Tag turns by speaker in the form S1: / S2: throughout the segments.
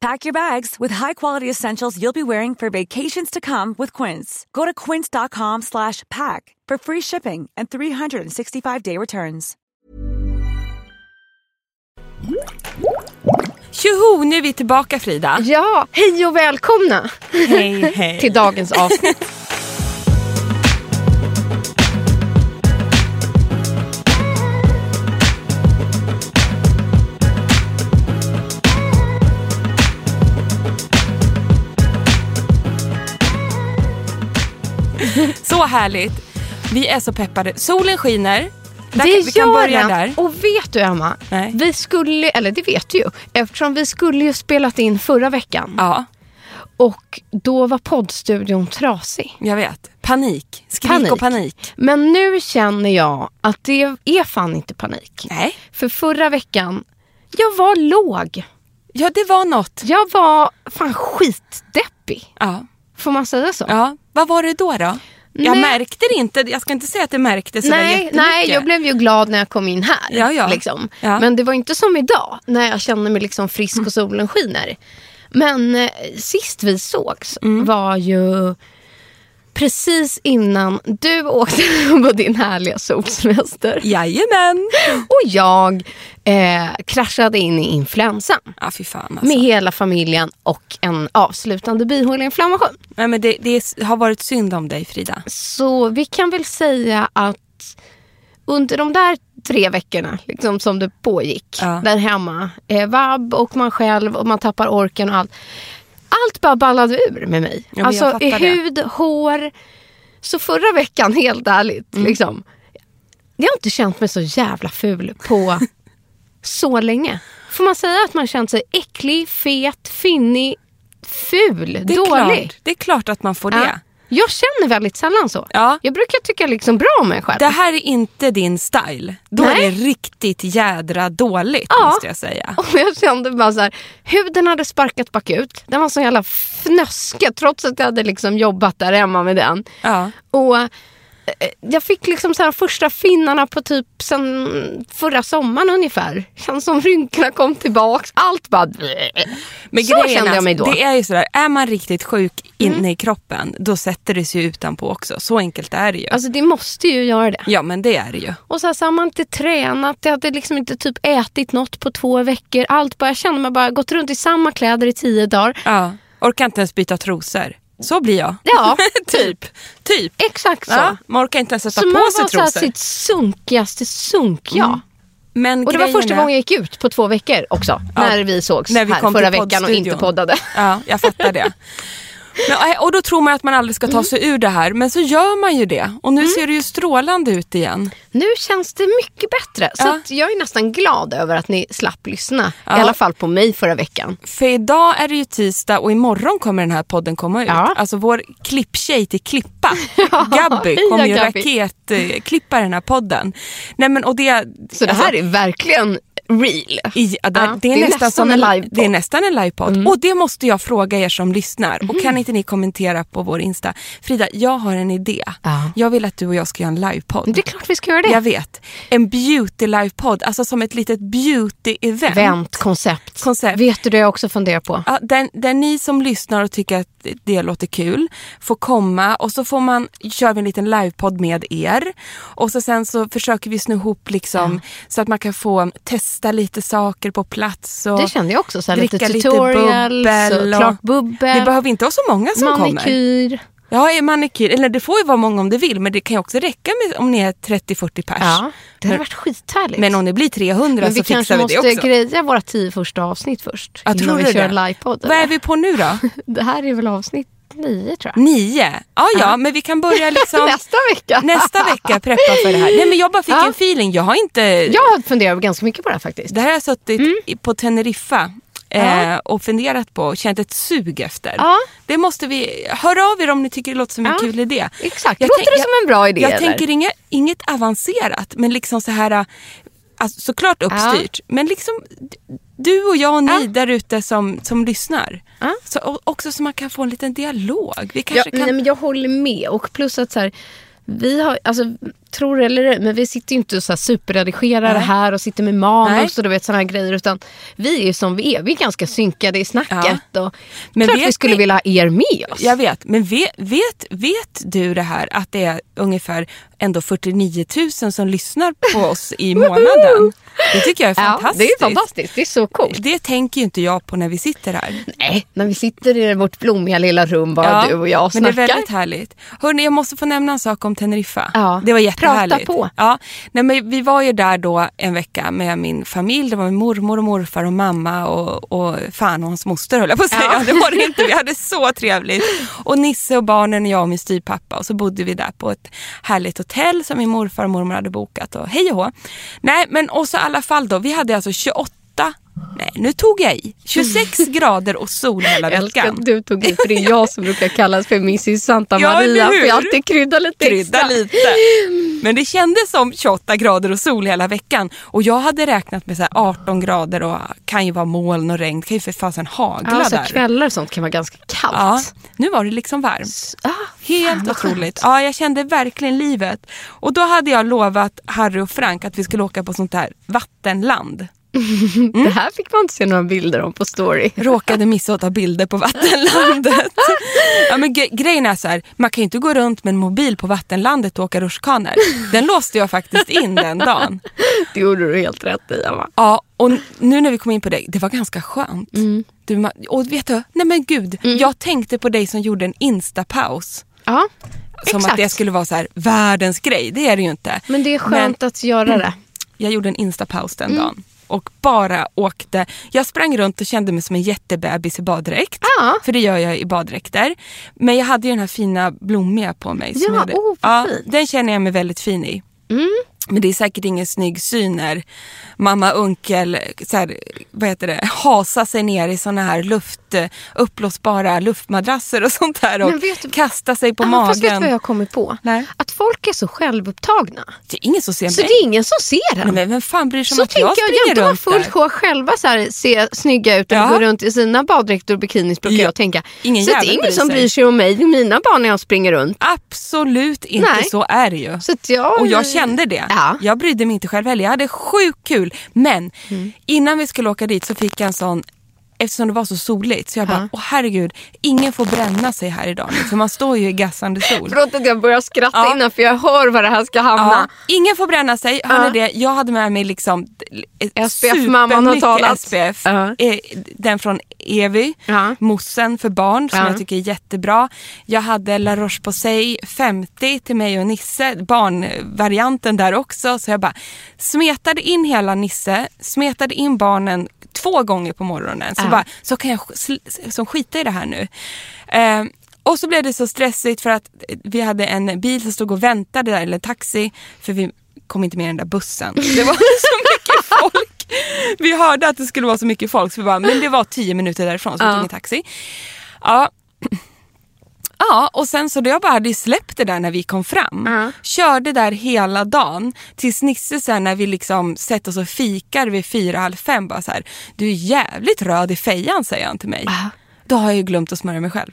S1: Pack your bags with high-quality essentials you'll be wearing for vacations to come with Quince. Go to quince.com slash pack for free shipping and 365-day returns.
S2: Tjoho, nu är vi tillbaka Frida.
S3: Ja, hej och välkomna
S2: Hej, hej.
S3: till dagens avsnitt.
S2: Så härligt. Vi är så peppade. Solen skiner. Där
S3: det
S2: kan, vi kan
S3: gör
S2: börja
S3: den.
S2: där.
S3: Och vet du Emma,
S2: Nej.
S3: vi skulle, eller det vet du ju, eftersom vi skulle ju spelat in förra veckan
S2: Ja,
S3: och då var poddstudion trasig.
S2: jag vet. Panik. Skrik
S3: Panik.
S2: och panik.
S3: Men nu känner jag att det är fan inte panik.
S2: Nej.
S3: För förra veckan, jag var låg.
S2: Ja, det var något.
S3: Jag var fan skitdeppig.
S2: Ja.
S3: Får man säga så?
S2: ja. Vad var det då? då? Jag
S3: Nej.
S2: märkte det inte. Jag ska inte säga att det märktes sådär
S3: Nej,
S2: jättemycket.
S3: nej, jag blev ju glad när jag kom in här.
S2: Ja, ja.
S3: Liksom.
S2: Ja.
S3: Men det var inte som idag när jag kände mig liksom frisk och solen skiner. Men eh, sist vi sågs
S2: Mm.
S3: var ju precis innan du åkte på din härliga solsemester.
S2: Jajamän.
S3: Och jag eh, kraschade in i influensan
S2: Ja, fy fan alltså.
S3: med hela familjen och en avslutande bihåleinflammation.
S2: Nej, men det, det är- har varit synd om dig Frida.
S3: Så vi kan väl säga att under de där tre veckorna liksom, som det pågick
S2: Ja.
S3: där hemma, eh, vab och man själv och man tappar orken och allt. Allt bara ballade ur med mig.
S2: men jag
S3: alltså i
S2: fattar det.
S3: hud, hår. Så förra veckan, helt ärligt,
S2: Mm.
S3: liksom, jag har inte känt mig så jävla ful på så länge. Får man säga att man känt sig äcklig, fet, finnig, ful,
S2: Det är,
S3: dålig?
S2: klart, det är klart att man får
S3: Ja.
S2: det.
S3: Jag känner väldigt sällan så.
S2: Ja.
S3: Jag brukar tycka liksom bra om mig själv.
S2: Det här är inte din style. Då
S3: Nej.
S2: är det riktigt jädra dåligt
S3: Ja.
S2: måste jag säga.
S3: Och jag kände bara så här, huden hade sparkat bakut. Den var så jävla fnöske trots att jag hade liksom jobbat där hemma med den.
S2: Ja.
S3: Och eh, jag fick liksom så här första finnarna på typ sen förra sommaren ungefär. Känns som rynkorna kom tillbaks. Allt bara...
S2: Men
S3: så
S2: grejen är
S3: kände
S2: alltså,
S3: jag mig då. Mm.
S2: Det är ju sådär, är man riktigt sjuk inne i kroppen då sätter det sig utanpå också. Så enkelt är det ju.
S3: Alltså det måste ju göra det.
S2: ja men det är det ju.
S3: Och så, här, så har man inte tränat, jag hade liksom inte typ ätit något på två veckor. Allt bara, jag kände mig bara gått runt i samma kläder i tio dagar.
S2: Ja. Orkar inte ens byta trosor. Så blir jag.
S3: Ja,
S2: typ. Typ.
S3: Exakt så.
S2: Ja, man orkar inte ens sätta
S3: Så man
S2: på sig
S3: var så här
S2: trosor. Mm.
S3: sitt sunkigaste sunk jag.
S2: Men
S3: Och det var
S2: grejen
S3: första
S2: är-
S3: gången jag gick ut på två veckor också.
S2: Ja.
S3: När vi sågs
S2: När vi
S3: här
S2: kom
S3: förra
S2: till
S3: veckan och inte
S2: poddstudion.
S3: poddade.
S2: Ja, jag fattar det. Men, eh, och då tror man att man aldrig ska
S3: Mm.
S2: ta sig ur det här, men så gör man ju det. Och nu ser det ju strålande ut igen.
S3: Nu känns det mycket bättre. Så
S2: Ja.
S3: att jag är nästan glad över att ni slapp lyssna.
S2: Ja.
S3: I alla fall på mig förra veckan.
S2: För idag är det ju tisdag och imorgon kommer den här podden komma ut.
S3: Ja.
S2: Alltså vår klipptjej till Klippa, Gabby,
S3: heja
S2: kommer ju
S3: Gabby.
S2: raketklippa den här podden. Nej, men, och det,
S3: Så det här är verkligen real.
S2: I, ja, där,
S3: Ja,
S2: det, är nästan som en,
S3: livepodd.
S2: det är nästan en livepodd.
S3: Mm.
S2: Och det måste jag fråga er som lyssnar.
S3: Mhm.
S2: Och kan inte ni kommentera på vår Insta. Frida, jag har en idé.
S3: Ja.
S2: Jag vill att du och jag ska göra en livepodd.
S3: Det är klart vi ska göra det.
S2: Jag vet. En beauty livepodd, alltså som ett litet beauty-event.
S3: Vänt koncept.
S2: Koncept.
S3: Vet du det jag också funderar på?
S2: Ja, där, där ni som lyssnar och tycker att det låter kul, får komma och så får man, kör vi en liten livepodd med er. Och så sen så försöker vi sno ihop liksom, så att man kan få testa lite saker på plats. Och
S3: Det kände jag också, så här, lite
S2: dricka
S3: tutorials och klart bubbel.
S2: Det behöver inte vara så många som kommer.
S3: Manikyr.
S2: Ja, är manikyr. Eller det får ju vara många om det vill, men det kan ju också räcka med om ni är 30-40 pers.
S3: Ja, det hade
S2: Men-
S3: varit skithärligt.
S2: Men om det blir 300
S3: Men vi
S2: så
S3: kanske
S2: fixar vi det
S3: måste
S2: också.
S3: greja våra tio första avsnitt först.
S2: Jag tror
S3: innan
S2: det.
S3: vi kör en livepodd.
S2: Vad är
S3: eller?
S2: vi på nu då?
S3: Det här är väl avsnitt nio tror jag.
S2: Nio? Ja, ja, men vi kan börja liksom
S3: Nästa vecka.
S2: nästa vecka preppa för det här. Nej, men jag bara fick
S3: Ja.
S2: en feeling. Jag har inte...
S3: Jag funderar ganska mycket på det här faktiskt.
S2: Det här har jag suttit
S3: Mm.
S2: i- på Teneriffa eh, och funderat på och känt ett sug efter.
S3: Ja.
S2: Det måste vi... Hör av er om ni tycker det låter som en
S3: Ja.
S2: kul idé.
S3: Exakt.
S2: Jag
S3: Låter
S2: tänk-
S3: det som en bra idé,
S2: Jag
S3: eller?
S2: tänker inga, inget avancerat, men liksom så här... äh, Alltså, såklart uppstyrt, men liksom d- du och jag och ni där ute som, som lyssnar.
S3: Ja.
S2: Så, och, också så man kan få en liten dialog. Vi kanske
S3: ja,
S2: kan...
S3: nej, men jag håller med. Och plus att så här, vi har, alltså, tror det eller ej, men vi sitter ju inte och så här superredigerar det här och sitter med manus
S2: Nej.
S3: och du vet sådana här grejer. Utan vi är ju som vi är. Vi är ganska synkade i snacket. Och,
S2: Men
S3: klart
S2: vet
S3: vi skulle
S2: ni-
S3: vilja ha er med oss.
S2: Jag vet, men vet, vet, vet du det här att det är ungefär ändå 49 000 som lyssnar på oss i månaden? Det tycker jag är
S3: ja,
S2: fantastiskt.
S3: det är fantastiskt. Det är så coolt.
S2: Det tänker ju inte jag på när vi sitter här.
S3: Nej, när vi sitter i vårt blommiga lilla rum bara
S2: Ja,
S3: du och jag och
S2: Men det
S3: snackar.
S2: är väldigt härligt. Hörrni, jag måste få nämna en sak om Teneriffa.
S3: Ja,
S2: Det var jättehärligt.
S3: prata på.
S2: Ja, nej, men vi var ju där då en vecka med min familj. Det var min mormor och morfar och mamma och, och fan och hans moster höll jag på att säga. Det var det inte. Vi hade så trevligt. Och Nisse och barnen och jag och min styvpappa och så bodde vi där på ett härligt hotell som min morfar och mormor hade bokat och hej och hå. Nej, men och så i alla fall då. Vi hade alltså 28 Nej, nu tog jag i. 26 grader och sol hela
S3: Jag älskar
S2: veckan.
S3: att du tog ut för det är jag som brukar kallas för Mrs Santa
S2: Ja, eller
S3: Maria.
S2: hur?
S3: för jag alltid krydda lite
S2: krydda
S3: extra.
S2: lite. Men det kändes som 28 grader och sol hela veckan. Och jag hade räknat med så här 18 grader och kan ju vara moln och regn. Det kan ju för fasen hagla
S3: Ja, så
S2: där.
S3: kvällar och sånt kan vara ganska
S2: Ja,
S3: kallt.
S2: nu var det liksom varmt.
S3: Ah,
S2: Helt otroligt. Ja, jag kände verkligen livet. Och då hade jag lovat Harry och Frank att vi skulle åka på sånt här vattenland. Mm.
S3: Det här fick man inte se några bilder om på story.
S2: Råkade missa att ta bilder på vattenlandet. Ja, men gre- grejen är så här, man kan ju inte gå runt med en mobil på vattenlandet och åka rutschkanor. Den låste jag faktiskt in den dagen.
S3: Det gjorde du helt rätt i, Emma.
S2: Ja, och nu när vi kom in på dig, det var ganska skönt.
S3: Mm.
S2: Du, ma- och vet du, nej men gud, jag tänkte på dig som gjorde en instapaus.
S3: Ja,
S2: Som
S3: exakt.
S2: att det skulle vara så här, världens grej, det är det ju inte.
S3: Men det är skönt att göra det.
S2: Mm. Jag gjorde en instapaus den
S3: Mm.
S2: dagen och bara åkte. Jag sprang runt och kände mig som en jättebebis i baddräkt.
S3: Ja.
S2: För det gör jag i baddräkter. Men jag hade ju den här fina blommiga på mig. Som
S3: Ja,
S2: jag hade,
S3: åh, vad
S2: ja,
S3: fint. Mm.
S2: den känner jag mig väldigt fin i. Men det är säkert ingen snygg syn när mamma onkel så här, vad heter det, hasar sig ner i såna här luft, eh, uppblåsbara luftmadrasser och sånt där och
S3: Men vet du-
S2: kastar sig på
S3: Ja,
S2: magen.
S3: Fast vet du vad jag har kommit på?
S2: Nej.
S3: Att folk är så självupptagna.
S2: Det är ingen som ser
S3: Så
S2: mig.
S3: det är ingen som ser en.
S2: Nej, men vem fan bryr sig
S3: Så
S2: om att jag
S3: tänker jag,
S2: springer
S3: jämt att vara
S2: runt
S3: fullt
S2: där?
S3: sjå själva så här, se snygga ut och
S2: Ja.
S3: gå runt i sina baddräkter och bikinis brukar
S2: Ja.
S3: jag tänka.
S2: Ingen
S3: så att det
S2: jävel
S3: är ingen
S2: bryr
S3: som
S2: sig.
S3: bryr sig om mig, mina barn när jag springer runt.
S2: Absolut inte,
S3: Nej.
S2: så är det ju.
S3: Så att jag,
S2: Och jag kände det.
S3: Ja.
S2: Jag brydde mig inte själv heller. Jag hade sjukt kul. Men
S3: Mm.
S2: innan vi skulle åka dit så fick jag en sån Eftersom det var så soligt så jag bara, åh herregud, ingen får bränna sig här idag nu, för man står ju i gassande sol.
S3: Förlåt att jag börjar skratta
S2: Ja.
S3: innan för jag hör var det här ska hamna.
S2: Ja, ingen får bränna sig, hör ni det? Jag hade med mig liksom eh,
S3: SPF mamman har
S2: supermycket
S3: talat.
S2: SPF.
S3: Ja.
S2: Eh, Den från Evy,
S3: Ja.
S2: mossen för barn som
S3: Ja.
S2: jag tycker är jättebra. Jag hade La Roche-Posay 50 till mig och Nisse, barnvarianten där också. Så jag bara smetade in hela Nisse, smetade in barnen två gånger på morgonen. Så
S3: Ja.
S2: bara, så kan jag sl- som skita i det här nu. Eh, och så blev det så stressigt för att vi hade en bil som stod och väntade där, eller en taxi, för vi kom inte med den där bussen. Det var så mycket folk. Vi hörde att det skulle vara så mycket folk, så vi bara, men det var tio minuter därifrån så vi tog en taxi. Ja, Ja, och sen så då jag bara hade ju släppt det där när vi kom fram. Körde där hela dagen tills Nisse sen när vi liksom sätter oss och fikar vid fyra, halv fem bara så här. Du är jävligt röd i fejan säger han till mig. Då har jag ju glömt att smörja mig själv.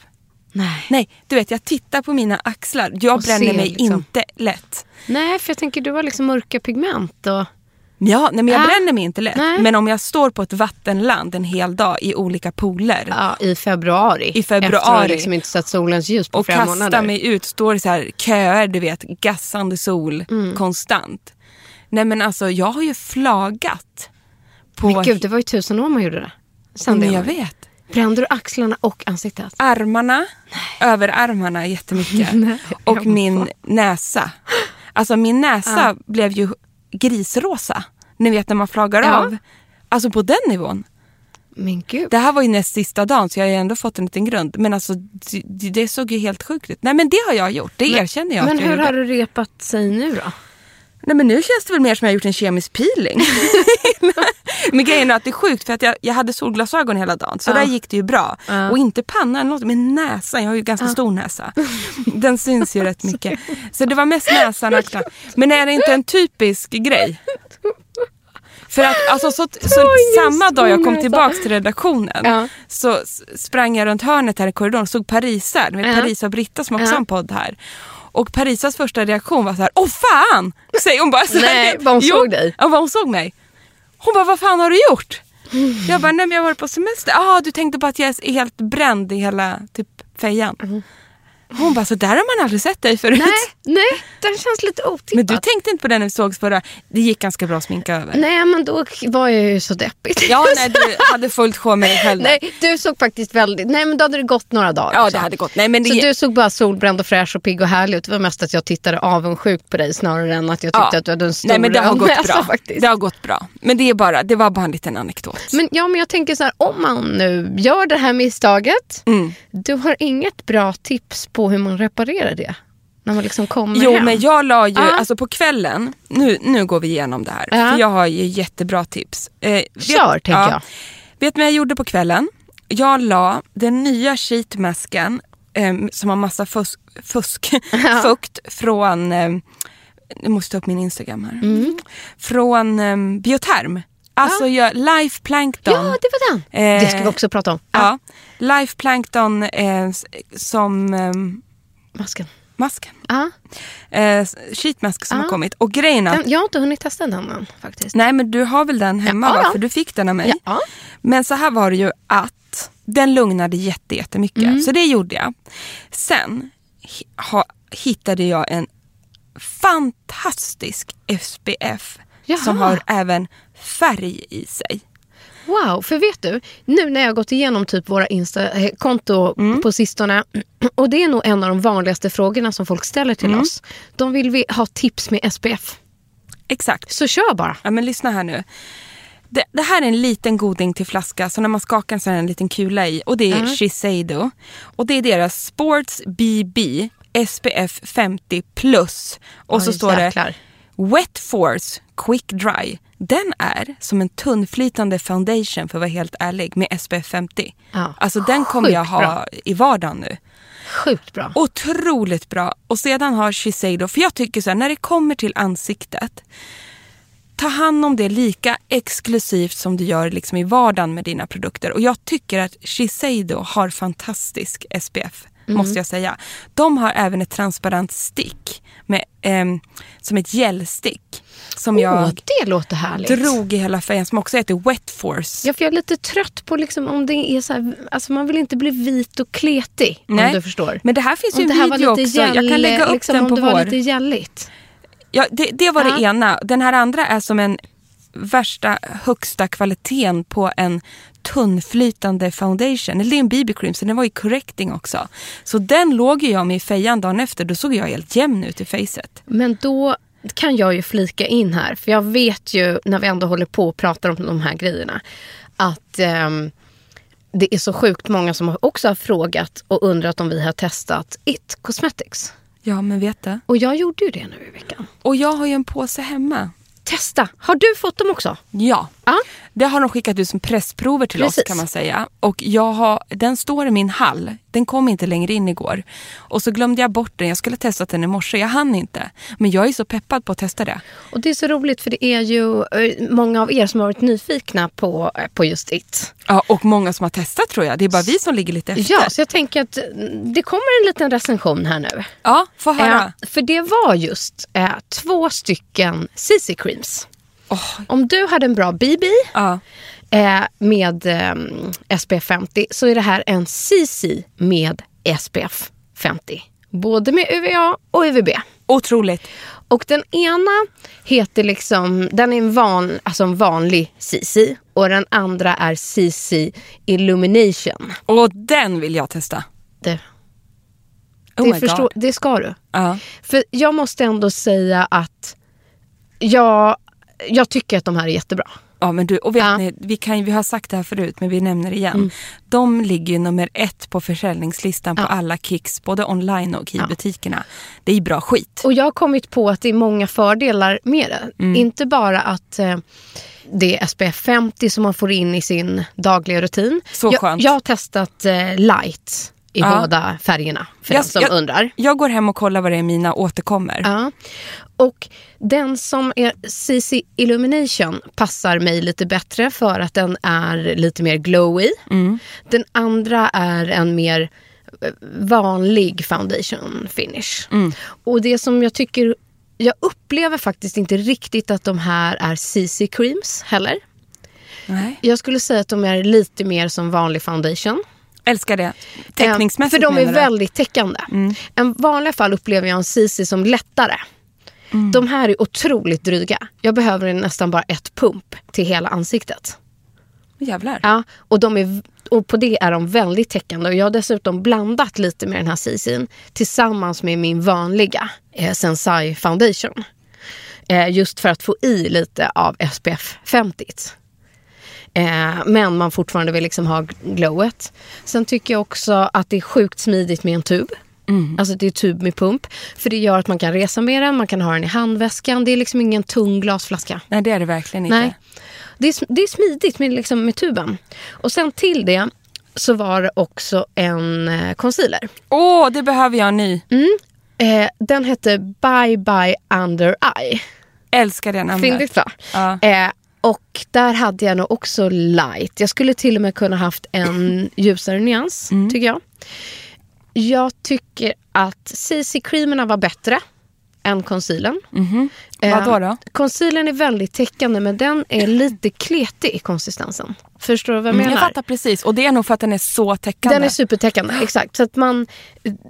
S3: Nej.
S2: Nej, du vet jag tittar på mina axlar. Jag
S3: Och
S2: bränner
S3: ser
S2: mig
S3: liksom.
S2: inte lätt.
S3: Nej, för jag tänker du har liksom mörka pigment. Och...
S2: Ja, nej, men jag
S3: Ja.
S2: bränner mig inte lätt.
S3: Nej.
S2: Men om jag står på ett vattenland en hel dag i olika pooler
S3: Ja, I februari.
S2: I februari.
S3: Efter att ha liksom inte sett solens ljus på
S2: och
S3: flera
S2: kastar
S3: månader.
S2: mig ut, står i så här köer, du vet, gassande sol
S3: Mm.
S2: konstant. Nej men alltså jag har ju flagat. På
S3: Men gud, det var ju tusen år man gjorde det. Sen
S2: men
S3: det
S2: jag
S3: året.
S2: vet.
S3: Brände du axlarna och ansiktet?
S2: armarna, överarmarna jättemycket. och min näsa. Alltså min näsa blev ju grisrosa. Ni vet när man flaggar
S3: Ja.
S2: av. Alltså på den nivån.
S3: Men gud.
S2: Det här var ju näst sista dagen så jag har ju ändå fått en liten grund. Men alltså det, det såg ju helt sjukt ut. Nej men det har jag gjort, det erkänner jag.
S3: Men
S2: att jag
S3: hur
S2: gjorde.
S3: har du repat sig nu då?
S2: Nej men nu känns det väl mer som jag har gjort en kemisk peeling. men grejen är att det är sjukt för att jag, jag hade solglasögon hela dagen så där gick det ju bra. Och inte pannan eller något, men näsan, jag har ju ganska stor näsa. Den syns ju rätt mycket. Så det var mest näsan och axlarna. Men är det inte en typisk grej? För att alltså, så, så samma dag jag kom
S3: näsa.
S2: tillbaka till redaktionen
S3: Ja.
S2: så s- sprang jag runt hörnet här i korridoren och såg Parisa, med
S3: Ja.
S2: Parisa och Britta som också har en podd här. Och Parisas första reaktion var så här, åh fan! Säger hon bara så här,
S3: Nej, vad hon såg dig?
S2: Ja, vad hon såg mig. Hon bara, vad fan har du gjort? Jag bara, nej men jag var på semester. Ah, du tänkte på att jag är helt bränd i hela typ fejan. Hon bara, så där har man aldrig sett dig förut.
S3: Mm. Nej, nej, den känns lite otippat.
S2: Men du tänkte inte på det när vi sågs förra. Det gick ganska bra att sminka över.
S3: Nej, men då var jag ju så deppig.
S2: Ja, nej, du hade fullt sjå med dig själv. där.
S3: Nej, du såg faktiskt väldigt... Nej, men då hade det gått några dagar.
S2: Ja,
S3: så.
S2: det hade gått. Nej, men det,
S3: Så du såg bara solbränd och fräsch och pigg och härlig ut. Det var mest att jag tittade avundsjuk på dig snarare än att jag tyckte att du hade en stor
S2: Nej, men det har
S3: röd
S2: gått
S3: näsa
S2: bra.
S3: faktiskt.
S2: Det har gått bra. Men det, är bara, det var bara en liten anekdot.
S3: Men, ja, men jag tänker så här, om man nu gör det här misstaget.
S2: Mm.
S3: Du har inget bra tips på hur man reparerar det? När man liksom kommer
S2: Jo
S3: hem?
S2: men jag la ju,
S3: Ja.
S2: alltså på kvällen, nu, nu går vi igenom det här.
S3: Ja.
S2: För jag har ju jättebra tips. Eh, vet-
S3: Kör, tänker jag.
S2: Vet ni vad jag gjorde på kvällen? Jag la den nya sheetmasken eh, som har massa fusk, fusk fukt från, eh, jag måste ta upp min instagram här.
S3: Mm.
S2: Från eh, Bioterm. Alltså jag, Life Plankton.
S3: Ja, det var den.
S2: Eh,
S3: det ska vi också prata om.
S2: Ja, Life Plankton eh, s- som eh,
S3: Ah, Masken. Ah.
S2: masken.
S3: Ja,
S2: Eh, s- sheetmask som
S3: Ja.
S2: har kommit. Och grejen är att
S3: den, jag har inte hunnit testa den än faktiskt.
S2: Nej men du har väl den hemma
S3: Ja,
S2: va?
S3: ja.
S2: För du fick den av mig.
S3: Ja.
S2: Men så här var det ju att den lugnade jätte, jättemycket.
S3: Mm.
S2: Så det gjorde jag. Sen hi- ha, hittade jag en fantastisk SPF
S3: Jaha.
S2: som har även färg i sig.
S3: Wow, för vet du, nu när jag har gått igenom typ våra Insta eh, konto
S2: Mm.
S3: på sistone och det är nog en av de vanligaste frågorna som folk ställer till
S2: Mm.
S3: oss. De vill vi ha tips med SPF.
S2: Exakt.
S3: Så kör bara.
S2: Ja men lyssna här nu. Det, det här är en liten goding till flaska, så när man skakar den så är det en liten kula i. Och det är
S3: Mm.
S2: Shiseido. Och det är deras Sports BB SPF 50 plus. Och
S3: Oj,
S2: så står
S3: jäklar.
S2: det Wet Force Quick Dry. Den är som en tunnflytande foundation för att vara helt ärlig med SPF 50.
S3: Ja.
S2: Alltså den kommer
S3: Sjukt
S2: jag ha
S3: bra.
S2: i vardagen nu.
S3: Sjukt bra.
S2: Otroligt bra. Och sedan har Shiseido, för jag tycker så här, när det kommer till ansiktet, ta hand om det lika exklusivt som du gör liksom i vardagen med dina produkter. Och jag tycker att Shiseido har fantastisk SPF,
S3: Mm.
S2: måste jag säga. De har även ett transparent stick, med, ehm, som ett gelstick, som
S3: Åh,
S2: jag
S3: det låter härligt.
S2: drog i hela färgen, som också heter Wet Force.
S3: Ja, för jag är lite trött på liksom om det är så här, alltså man vill inte bli vit och kletig om du förstår.
S2: Men det här finns ju
S3: om det
S2: en
S3: här var
S2: video
S3: lite
S2: också. jag kan lägga upp
S3: liksom,
S2: den
S3: om
S2: på
S3: det
S2: vår.
S3: var lite gälligt.
S2: Ja, det, det var det
S3: Ja.
S2: ena. Den här andra är som en värsta högsta kvaliteten på en tunnflytande foundation. Eller det är en BB-cream, så den var ju correcting också. Så den låg ju jag med i fejan dagen efter. Då såg jag helt jämn ut i facet.
S3: Men då kan jag ju flika in här, för jag vet ju när vi ändå håller på och pratar om de här grejerna att ehm, det är så sjukt många som också har frågat och undrat om vi har testat It Cosmetics.
S2: Ja, men vet du.
S3: Och jag gjorde ju det nu i veckan.
S2: Och jag har ju en påse hemma.
S3: Testa! Har du fått dem också?
S2: Ja.
S3: Ja.
S2: Det har de skickat ut som pressprover till oss
S3: Precis.
S2: kan man säga. Och jag har, den står i min hall. Den kom inte längre in igår. Och så glömde jag bort den. Jag skulle ha testat den i morse. Jag hann inte. Men jag är så peppad på att testa det.
S3: Och det är så roligt för det är ju eh, många av er som har varit nyfikna på, eh, på just It.
S2: Ja, och många som har testat tror jag. Det är bara vi som ligger lite efter.
S3: Ja, så jag tänker att mm, det kommer en liten recension här nu.
S2: ja få höra.
S3: Eh, för det var just eh, två stycken CC-creams
S2: Åh,
S3: Om du hade en bra BB
S2: ja.
S3: eh, med ehm, SPF 50 så är det här en CC med SPF 50. Både med UVA och UVB.
S2: Otroligt.
S3: Och den ena heter liksom, den är en, van, alltså en vanlig CC och den andra är CC Illumination.
S2: Och den vill jag testa.
S3: Det,
S2: Oh
S3: det,
S2: my
S3: förstår,
S2: god.
S3: det ska du.
S2: Ja.
S3: För jag måste ändå säga att jag, jag tycker att de här är jättebra.
S2: Ja, men du, och vet
S3: Ja. Mm.
S2: ni, vi, kan, ju- vi har sagt det här förut men vi nämner det igen. De ligger ju nummer ett på försäljningslistan på alla Kicks, både online och i butikerna. Det är ju bra skit.
S3: Och jag har kommit på att det är många fördelar med det.
S2: Mm.
S3: Inte bara att eh, det är SPF 50 som man får in i sin dagliga rutin.
S2: Så
S3: jag,
S2: skönt.
S3: jag har testat eh, light i
S2: Ja.
S3: båda färgerna för
S2: Jag-
S3: den som
S2: jag-
S3: undrar.
S2: Jag går hem och kollar vad det är mina återkommer.
S3: Ja. Och den som är CC Illumination passar mig lite bättre för att den är lite mer glowy. Den andra är en mer eh, vanlig foundation finish. Och det som jag tycker, jag upplever faktiskt inte riktigt att de här är CC creams heller.
S2: Nej.
S3: Jag skulle säga att de är lite mer som vanlig foundation.
S2: Älskar det.
S3: Eh,
S2: Teckningsmässigt
S3: För de
S2: menar
S3: är
S2: du? Mm.
S3: väldigt täckande. I vanliga fall upplever jag en CC som lättare.
S2: Mm.
S3: De här är otroligt dryga. Jag behöver nästan bara ett pump till hela ansiktet.
S2: Jävlar.
S3: Ja, och, de är, och på det är de väldigt täckande. Och jag har dessutom blandat lite med den här CC'n tillsammans med min vanliga eh, Sensai Foundation. Eh, just för att få i lite av SPF 50. Eh, men man fortfarande vill liksom ha glowet. Sen tycker jag också att det är sjukt smidigt med en tub. Alltså det är tub med pump. För det gör att man kan resa med den, man kan ha den i handväskan. Det är liksom ingen tung glasflaska.
S2: Nej, det är det verkligen inte.
S3: Nej. Det är, sm- det är smidigt med, liksom, med tuben. Och sen till det så var det också en eh, concealer.
S2: Åh, det behöver jag ny.
S3: Eh, den hette Bye Bye Under Eye.
S2: Älskar det namnet.
S3: Fyndigt va?
S2: Ja.
S3: Eh, och där hade jag nog också light. Jag skulle till och med kunna haft en ljusare nyans,
S2: Mm.
S3: tycker jag. Jag tycker att CC-creamerna var bättre än concealern.
S2: Mhm. Vadå då?
S3: Concealern är väldigt täckande men den är lite kletig i konsistensen. Förstår du vad jag menar?
S2: Mm. Jag fattar precis. Och det är nog för att den är så täckande.
S3: Den är supertäckande, exakt. Så att man,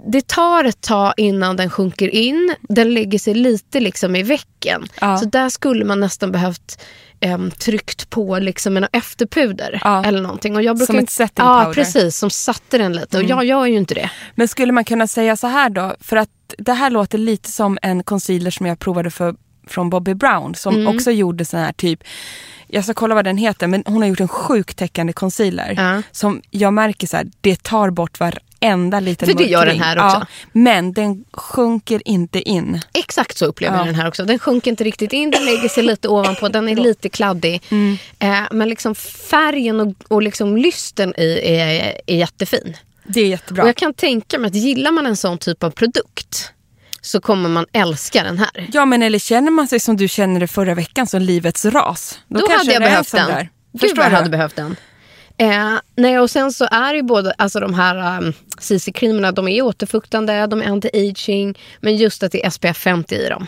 S3: det tar ett tag innan den sjunker in. Den lägger sig lite liksom i väcken.
S2: Ja.
S3: Så där skulle man nästan behövt em, tryckt på liksom en efterpuder.
S2: Ja.
S3: Eller någonting. Och jag brukar
S2: Som
S3: ju-
S2: ett setting
S3: Ja,
S2: powder. Mm.
S3: precis. Som satte den lite. Och jag gör ju inte det.
S2: Men skulle man kunna säga så här då? För att det här låter lite som en concealer som jag provade för, från Bobby Brown som
S3: Mm.
S2: också gjorde sån här typ, jag ska kolla vad den heter, men hon har gjort en sjukt täckande concealer
S3: Ja.
S2: som jag märker så här, det tar bort varenda liten
S3: För det gör
S2: mörkring.
S3: den här också.
S2: Ja, men den sjunker inte in.
S3: Exakt så upplever
S2: Ja.
S3: jag den här också. Den sjunker inte riktigt in, den lägger sig lite ovanpå, den är lite kladdig.
S2: Mm.
S3: Eh, men liksom färgen och, och liksom lysten i är, är jättefin.
S2: Det är jättebra.
S3: Och jag kan tänka mig att gillar man en sån typ av produkt så kommer man älska den här.
S2: Ja men eller känner man sig som du känner det förra veckan, som livets ras. Då,
S3: Då
S2: kanske
S3: hade jag
S2: det är en
S3: behövt
S2: sån
S3: den.
S2: Där.
S3: Gud
S2: Förstår
S3: vad jag
S2: du?
S3: hade behövt den. Eh, nej, och sen så är ju både alltså de här um, CC-creamerna, de är återfuktande, de är anti-aging, men just att det är SPF 50 i dem.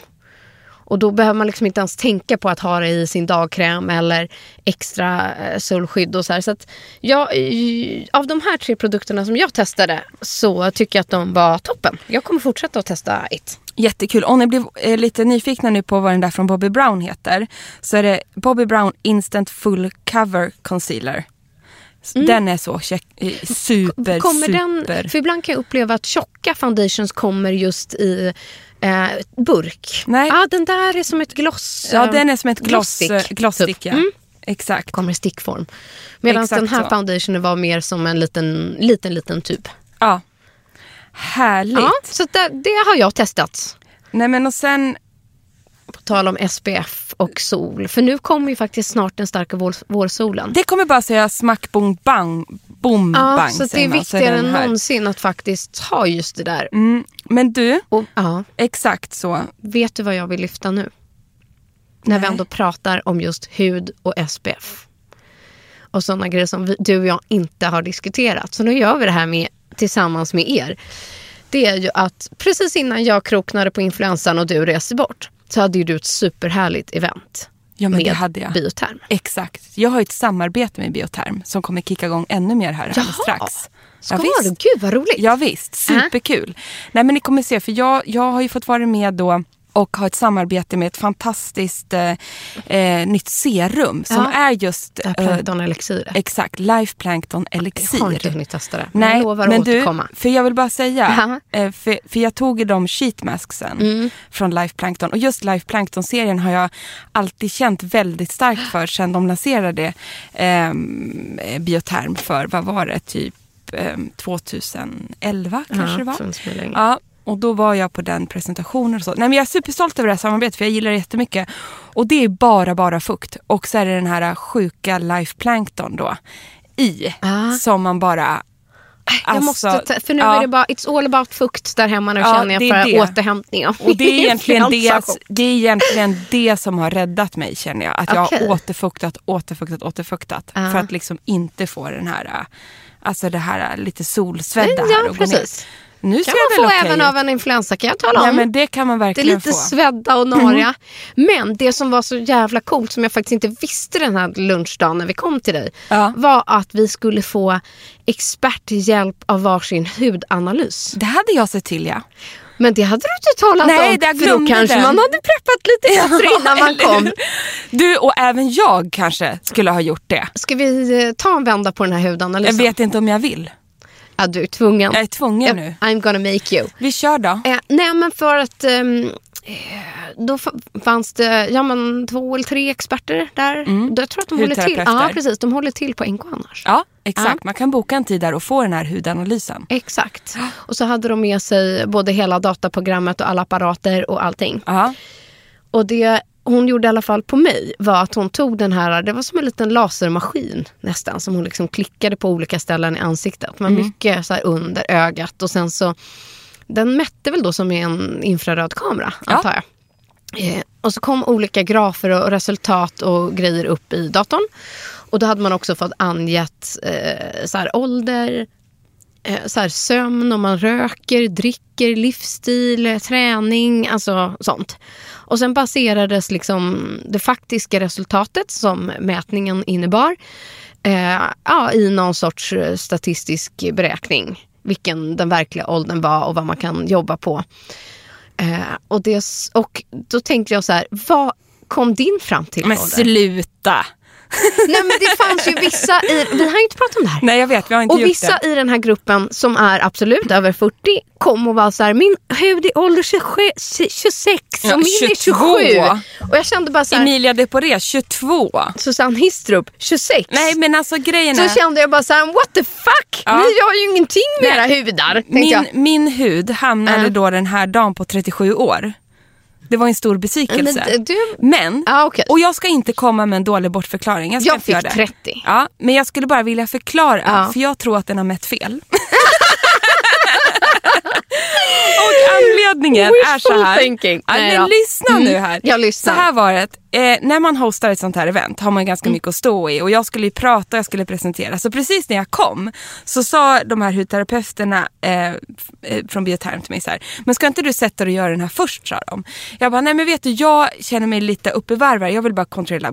S3: Och då behöver man liksom inte ens tänka på att ha det i sin dagkräm eller extra eh, solskydd och så här. Så att jag, eh, av de här tre produkterna som jag testade så tycker jag att de var toppen. Jag kommer fortsätta att testa It.
S2: Jättekul. Om ni blev eh, lite nyfikna nu på vad den där från Bobby Brown heter så är det Bobby Brown Instant Full Cover Concealer. S- Den är så check, eh, super,
S3: Mm. kommer
S2: super.
S3: den, för ibland kan jag uppleva att tjocka foundations kommer just i eh, burk.
S2: Nej.
S3: Ah, den där är som ett gloss.
S2: ja,
S3: eh,
S2: den är som ett gloss, eh, glossstick.
S3: typ.
S2: ja. Exakt.
S3: Kommer i stickform. Medan
S2: Exakt
S3: den här
S2: så.
S3: foundationen var mer som en liten, liten, liten tub.
S2: Ja. Härligt.
S3: Ja, så det, det har jag testat.
S2: Nej, men och sen,
S3: På tal om SPF och sol. För nu kommer ju faktiskt snart den starka vår, vårsolen.
S2: det kommer bara säga smack, bong, bang. Boom,
S3: ja,
S2: bang,
S3: så det
S2: säger
S3: är
S2: man, så
S3: viktigare
S2: den
S3: än
S2: här.
S3: någonsin att faktiskt ha just det där.
S2: Mm, men du,
S3: Och, ja.
S2: exakt så.
S3: Vet du vad jag vill lyfta nu? När vi ändå pratar om just hud och SPF. Och sådana grejer som vi, du och jag inte har diskuterat. Så nu gör vi det här med, tillsammans med er. Det är ju att precis innan jag kroknade på influensan och du reste bort så hade ju du ett superhärligt event.
S2: Ja, men
S3: med
S2: det hade jag.
S3: bioterm.
S2: Exakt. Jag har ju ett samarbete med Bioterm som kommer kicka igång ännu mer här alldeles
S3: Jaha.
S2: strax.
S3: Ska du? Gud vad roligt.
S2: Ja, visst,
S3: Äh.
S2: superkul. Nej men ni kommer se, för jag, jag har ju fått vara med då och ha ett samarbete med ett fantastiskt eh, eh, nytt serum som
S3: Ja.
S2: är just
S3: Det här
S2: eh,
S3: planktonelixiret.
S2: exakt Life Plankton
S3: Jag har inte
S2: Elixir.
S3: hunnit testa det. Men
S2: Nej,
S3: jag lovar
S2: men
S3: att
S2: du,
S3: återkomma.
S2: för jag vill bara säga,
S3: Aha.
S2: eh, för, för jag tog ju de sheetmasksen
S3: Mm.
S2: från Life Plankton och just Life Plankton-serien har jag alltid känt väldigt starkt för sen de lanserade ehm, eh, Bioterm för, vad var det, typ ehm, 2011 kanske det var?
S3: för en smula länge.
S2: Ja, och då var jag på den presentationen. Och så. Nej, men jag är superstolt över det här samarbetet för jag gillar det jättemycket. Och det är bara, bara fukt. Och så är det den här sjuka Life Plankton då i.
S3: Ah.
S2: Som man bara...
S3: Jag måste ta, för nu är det bara, it's all about fukt där hemma nu
S2: Alltså, Ja,
S3: känner jag
S2: det
S3: för
S2: är det.
S3: återhämtning. av
S2: Och det är, egentligen det, alltså,
S3: influensachock.
S2: det är egentligen det som har räddat mig känner jag. Att jag
S3: Okej.
S2: har återfuktat, återfuktat, återfuktat. För att liksom inte få den här, äh, alltså det här äh, lite solsvedda
S3: Mm, Ja,
S2: här och
S3: precis.
S2: gå ner. Nu
S3: kan
S2: ser jag väl
S3: man få
S2: okej
S3: även
S2: ut.
S3: av en influensa kan jag tala om.
S2: Nej, men det kan man
S3: Det är
S2: verkligen Mm.
S3: lite
S2: få.
S3: svedda och nariga. Men det som var så jävla coolt som jag faktiskt inte visste den här lunchdagen när vi kom till dig
S2: Ja.
S3: var att vi skulle få experthjälp av varsin hudanalys.
S2: Det hade jag sett till ja.
S3: Men det hade du inte talat
S2: Nej,
S3: om
S2: där
S3: för då
S2: glömde
S3: kanske
S2: den.
S3: man hade preppat lite bättre innan man
S2: Eller
S3: kom.
S2: hur? Du och även jag kanske skulle ha gjort det.
S3: Ska vi eh, ta en vända på den här
S2: Jag
S3: hudanalysen?
S2: vet inte om jag vill.
S3: Ja, du är tvungen.
S2: Jag är tvungen
S3: Jag-
S2: nu.
S3: I'm gonna make you.
S2: Vi kör då.
S3: Eh, nej, men för att ehm, eh, då fa- fanns det ja, men, två eller tre experter där. Då, jag tror att de håller till.
S2: Hudterapeuter.
S3: Ja, precis. De håller till på NK annars.
S2: Ja, exakt.
S3: Ja.
S2: Man kan boka en tid där och få den här hudanalysen.
S3: Exakt. Och så hade de med sig både hela dataprogrammet och alla apparater och allting.
S2: Ja.
S3: Och det hon gjorde i alla fall på mig var att hon tog den här, det var som en liten lasermaskin nästan som hon liksom klickade på olika ställen i ansiktet. Men mycket så här under ögat och sen så, den mätte väl då som i en infraröd kamera
S2: Ja.
S3: antar jag. Eh, och så kom olika grafer och resultat och grejer upp i datorn. Och då hade man också fått angett eh, så här, ålder, eh, så här, sömn, om man röker, dricker, livsstil, eh, träning, alltså sånt. Och sen baserades liksom det faktiska resultatet som mätningen innebar eh, ja, i någon sorts eh, statistisk beräkning. Vilken den verkliga åldern var och vad man kan jobba på. Eh, och, det, s- och då tänkte jag så här, vad kom din fram till
S2: Men
S3: ålder?
S2: sluta!
S3: Nej men det fanns ju vissa i, vi har ju inte pratat om det här.
S2: Nej, jag vet. Vi har inte
S3: Och
S2: gjort
S3: vissa
S2: det.
S3: i den här gruppen som är absolut över 40 kom och var så här, min hud är ålder 27, 26 och
S2: Ja,
S3: min är
S2: 22.
S3: 27. Och jag kände bara så här,
S2: Emilia Deporé, 22.
S3: Susanne Histrup, 26.
S2: Nej, men alltså grejen
S3: så
S2: är...
S3: kände jag bara så här, what the fuck?
S2: Ja.
S3: Ni har ju ingenting med era hudar. tänkte
S2: Min,
S3: jag.
S2: min hud hamnade
S3: Ja.
S2: då den här dagen på 37 år. Det var en stor besvikelse.
S3: Men du-
S2: Men-
S3: Ja, okej.
S2: och jag ska inte komma med en dålig bortförklaring. Jag, ska
S3: Jag
S2: inte
S3: fick
S2: göra det.
S3: 30.
S2: Ja, men jag skulle bara vilja förklara,
S3: Ja.
S2: för jag tror att den har mätt fel. och anledningen är så
S3: Wishful
S2: här.
S3: thinking.
S2: Ja,
S3: Nej
S2: men
S3: då.
S2: lyssna nu
S3: Mm,
S2: här.
S3: jag lyssnar. Mm.
S2: Så här var det, eh, när man hostar ett sånt här event har man ganska mycket att stå i och jag skulle ju prata och jag skulle presentera. Så precis när jag kom så sa de här hudterapeuterna eh, f- eh, från Bioterm till mig så här, men ska inte du sätta dig och göra den här först sa de. Jag bara, nej men vet du jag känner mig lite uppe i varv här. jag vill bara kontrollera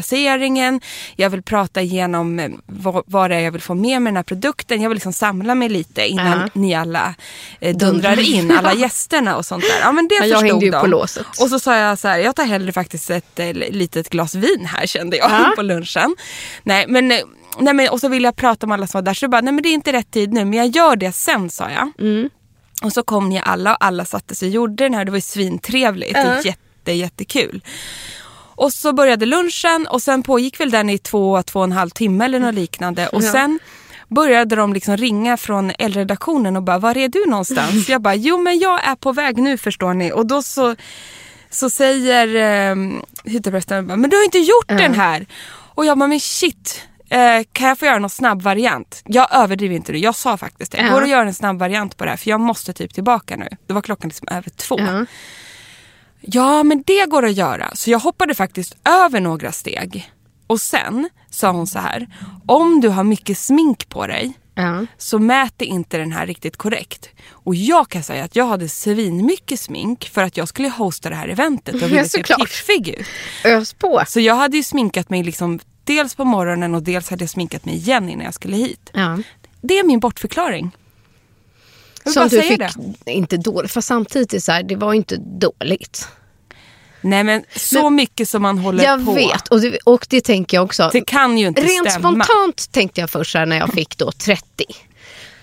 S2: bordsplaceringen, jag vill prata igenom eh, vad, vad det är jag vill få med mig den här produkten, jag vill liksom samla mig lite innan
S3: Ja.
S2: ni alla eh, dundrar in, alla gästerna och sånt där. Ja men det
S3: Ja, jag
S2: förstod
S3: hängde ju
S2: de.
S3: på låset.
S2: Och så sa jag så här, jag tar hellre faktiskt ett eh, litet glas vin här kände jag på lunchen. Nej men, eh, nej men, och så ville jag prata med alla som var där så jag bara, nej men det är inte rätt tid nu men jag gör det sen sa jag.
S3: Mm.
S2: Och så kom ni alla och alla satte sig och gjorde den här det var ju svintrevligt, och jätte, jättekul. Och så började lunchen och sen pågick väl den i två, två och en halv timme eller något liknande. Och sen började de liksom ringa från L-redaktionen och bara, var är du någonstans? Jag bara, jo men jag är på väg nu förstår ni. Och då så, så säger eh, hytteprästen, men du har inte gjort den här. Och jag bara, men shit. Eh, kan jag få göra någon snabb variant? Jag överdriver inte nu, jag sa faktiskt det.
S3: Ja.
S2: Går det att göra en snabb variant på det här? För jag måste typ tillbaka nu. Då var klockan liksom över två. Ja, men det går att göra. Så jag hoppade faktiskt över några steg. Och sen sa hon så här. Om du har mycket smink på dig
S3: Ja.
S2: så mäter inte den här riktigt korrekt. Och jag kan säga att jag hade svinmycket smink för att jag skulle hosta det här eventet och ville se
S3: såklart.
S2: piffig ut.
S3: Ös på.
S2: Så jag hade ju sminkat mig liksom dels på morgonen och dels hade jag sminkat mig igen innan jag skulle hit.
S3: Ja.
S2: Det är min bortförklaring. Jag vill
S3: Som
S2: bara
S3: du
S2: säga
S3: fick,
S2: det.
S3: inte dåligt, fast samtidigt är det så här, det var ju inte dåligt.
S2: Nej men så mycket som man håller
S3: Jag
S2: på.
S3: vet, och det, och det tänker jag också.
S2: Det kan ju inte
S3: Rent
S2: stämma.
S3: spontant tänkte jag först så här, när jag fick då 30.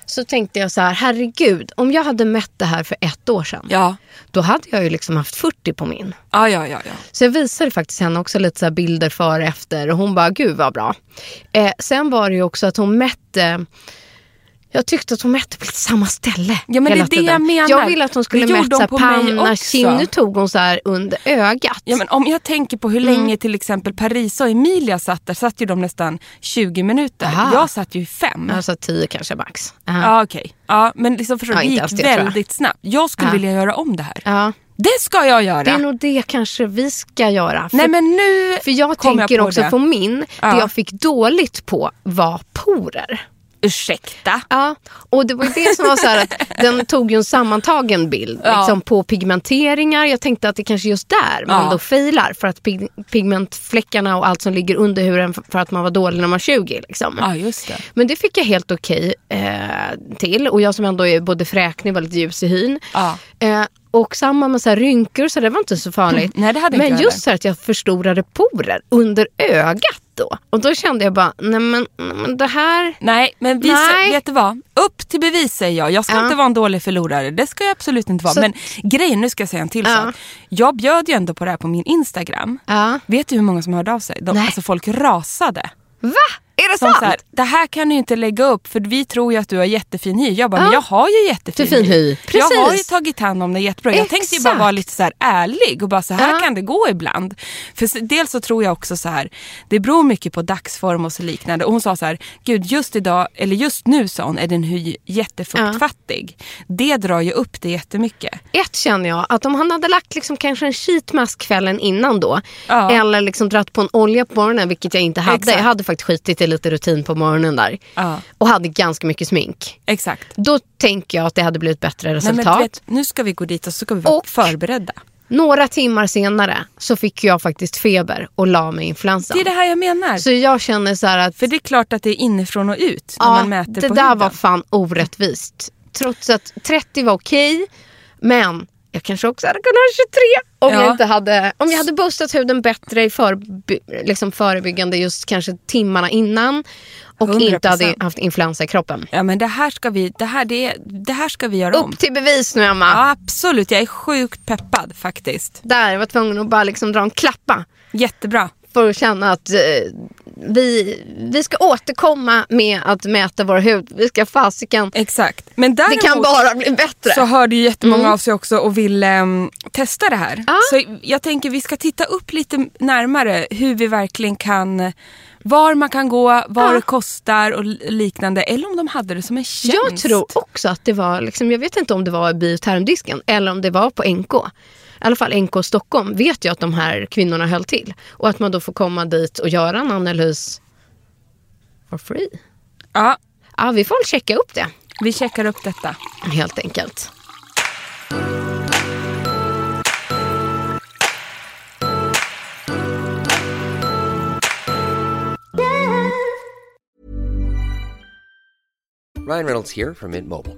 S3: Så tänkte jag så här, herregud, om jag hade mätt det här för ett år sedan,
S2: Ja.
S3: då hade jag ju liksom haft 40 på min.
S2: Ja, ja, ja, ja.
S3: Så jag visade faktiskt henne också lite så här bilder före och efter och hon bara, gud vad bra. Eh, sen var det ju också att hon mätte jag tyckte att hon mätte på lite samma ställe
S2: Ja, men det är
S3: hela
S2: det jag menar.
S3: Jag ville att hon skulle
S2: Det gjorde
S3: mäta så här
S2: hon på mig
S3: panna,
S2: också.
S3: kind. Nu tog hon så här under ögat.
S2: Ja, men om jag tänker på hur
S3: Mm.
S2: länge till exempel Parisa och Emilia satt där, satt ju de nästan 20 minuter.
S3: Aha.
S2: Jag satt ju i fem.
S3: Alltså tio kanske max. Ja.
S2: Ja okej. Ja, men liksom förstår,
S3: Ja,
S2: du, det
S3: inte
S2: gick
S3: ens det, tror jag.
S2: väldigt snabbt. Jag skulle
S3: Ja.
S2: vilja göra om det här.
S3: Ja.
S2: Det ska jag göra.
S3: Det är nog det kanske vi ska göra. För,
S2: Nej men nu
S3: för jag
S2: kom
S3: tänker
S2: jag på
S3: också
S2: det.
S3: på min, det
S2: Ja.
S3: jag fick dåligt på var porer.
S2: Ursäkta.
S3: Ja, och det var ju det som var så här att den tog ju en sammantagen bild
S2: Ja.
S3: liksom på pigmenteringar. Jag tänkte att det kanske är just där man
S2: Ja.
S3: då failar för att pig pigmentfläckarna och allt som ligger under huden f- för att man var dålig när man var 20. Liksom.
S2: Ja just det.
S3: Men det fick jag helt okej eh, till och jag som ändå är både fräknig och väldigt ljus i hyn.
S2: Ja.
S3: Eh, och samma med så här rynkor så det var inte så farligt.
S2: Mm. Nej, det hade inte
S3: men
S2: jag
S3: just
S2: heller.
S3: så här att jag förstorade porer under ögat då. Och då kände jag bara, nej men, nej, men det här...
S2: Nej men vi
S3: Nej.
S2: vet du vad? Upp till bevis säger jag. Jag ska
S3: Ja.
S2: inte vara en dålig förlorare. Det ska jag absolut inte vara.
S3: Så-
S2: Men grejen, nu ska jag säga en till
S3: Ja.
S2: sak. Jag bjöd ju ändå på det här på min Instagram.
S3: Ja.
S2: Vet du hur många som hörde av sig? De,
S3: Nej.
S2: alltså folk rasade.
S3: Va? Är det
S2: Som
S3: sant?
S2: så här, det här kan du inte lägga upp för vi tror ju att du har jättefin hy. Jag bara, men jag har ju jättefin
S3: Jättefin hy.
S2: Jag har ju
S3: Precis.
S2: tagit hand om det jättebra. Jag tänkte ju bara
S3: Exakt.
S2: vara lite så här ärlig och bara så här
S3: Ja.
S2: kan det gå ibland. För s- dels så tror jag också så här, det beror mycket på dagsform och så liknande. Och hon sa så här, gud just idag, eller just nu sa hon, är din hy jättefuktfattig. Det drar ju upp det jättemycket.
S3: Ett känner jag, att om han hade lagt liksom kanske en sheetmask kvällen innan då
S2: Ja.
S3: eller liksom dratt på en olja på morgonen, vilket jag inte hade.
S2: Exakt.
S3: Jag hade faktiskt skitit i lite rutin på morgonen där
S2: Ja.
S3: och hade ganska mycket smink.
S2: Exakt.
S3: Då tänker jag att det hade blivit bättre
S2: Nej, men
S3: resultat.
S2: du vet, nu ska vi gå dit och så ska vi vara
S3: Och-
S2: förberedda.
S3: Några timmar senare så fick jag faktiskt feber och la mig i influensan.
S2: Det är det här jag menar.
S3: Så jag känner så här att
S2: För det är klart att det är inifrån och ut när man mäter
S3: det
S2: på
S3: där
S2: huden.
S3: var fan orättvist. Trots att 30 var okej, men jag kanske också hade kunnat ha 23 om,
S2: Ja.
S3: jag inte hade, om jag hade boostat huden bättre i förby, liksom förebyggande just kanske timmarna innan och
S2: 100%.
S3: inte hade haft influensa i kroppen.
S2: Ja men det här ska vi, det här, det, är- det här ska vi göra om.
S3: Upp till bevis nu Emma.
S2: Ja, absolut, jag är sjukt peppad faktiskt.
S3: Där, jag var tvungen att bara liksom dra en klappa
S2: Jättebra.
S3: för att känna att eh, vi, vi ska återkomma med att mäta vår hud. Vi ska fasiken,
S2: Exakt. Men
S3: det
S2: däremot
S3: kan bara bli bättre.
S2: så hörde ju jättemånga av sig också och ville mm, testa det här.
S3: Ja.
S2: Så jag tänker vi ska titta upp lite närmare hur vi verkligen kan, var man kan gå, vad
S3: Ja.
S2: det kostar och liknande. Eller om de hade det som en tjänst.
S3: Jag tror också att det var, liksom, jag vet inte om det var i biotermdisken eller om det var på NK. I alla fall NK Stockholm vet jag att de här kvinnorna höll till. Och att man då får komma dit och göra en analys for free.
S2: Ja,
S3: Ja, vi får väl checka upp det
S2: vi checkar upp detta.
S3: helt enkelt.
S4: Ryan Reynolds here from Mint Mobile.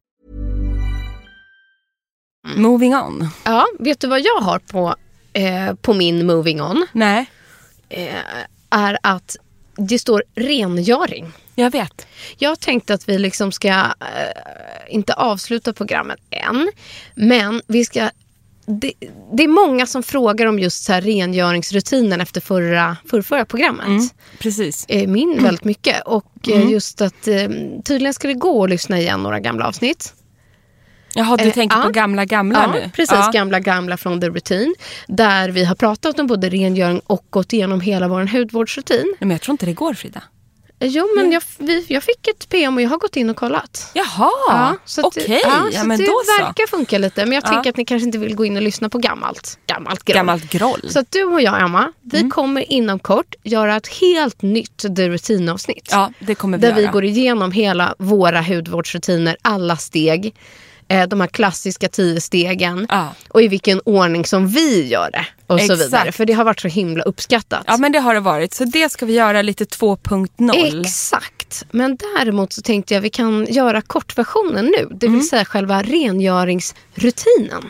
S3: Mm.
S2: Moving on.
S3: Ja, vet du vad jag har på, eh, på min moving on?
S2: Nej,
S3: Eh, är att det står rengöring.
S2: jag vet.
S3: Jag tänkte att vi liksom ska, eh, inte avsluta programmet än, men vi ska... Det, det är många som frågar om just så här rengöringsrutinen efter förra, förrförra programmet.
S2: Precis.
S3: Eh, Min väldigt mycket. Och eh, just att eh, tydligen ska det gå att lyssna igen några gamla avsnitt.
S2: Jaha, du
S3: Eh,
S2: tänker
S3: ja.
S2: på gamla gamla
S3: Ja,
S2: nu?
S3: precis.
S2: Ja.
S3: Gamla gamla från The Routine. Där vi har pratat om både rengöring och gått igenom hela vår hudvårdsrutin.
S2: Nej, men jag tror inte det går Frida.
S3: Eh, Jo, men jag, vi, jag fick ett PM och jag har gått in och kollat.
S2: Jaha,
S3: så att-
S2: okej.
S3: ja,
S2: Ja,
S3: så
S2: men
S3: det
S2: då så.
S3: verkar funka lite. Men jag
S2: Ja.
S3: tänker att ni kanske inte vill gå in och lyssna på gammalt. Gammalt groll.
S2: Gammalt Mm. groll.
S3: Så att du och jag, Emma, vi kommer inom kort göra ett helt nytt The Routine-avsnitt.
S2: Ja, det kommer vi
S3: Där vi
S2: göra.
S3: går igenom hela våra hudvårdsrutiner, alla steg. Eh, de här klassiska tio stegen.
S2: Ja.
S3: Och i vilken ordning som vi gör det. Och så
S2: Exakt.
S3: vidare. För det har varit så himla uppskattat.
S2: Ja, men det har det varit. Så det ska vi göra lite 2.0.
S3: Exakt. Men däremot så tänkte jag vi kan göra kortversionen nu. Det vill säga själva rengöringsrutinen.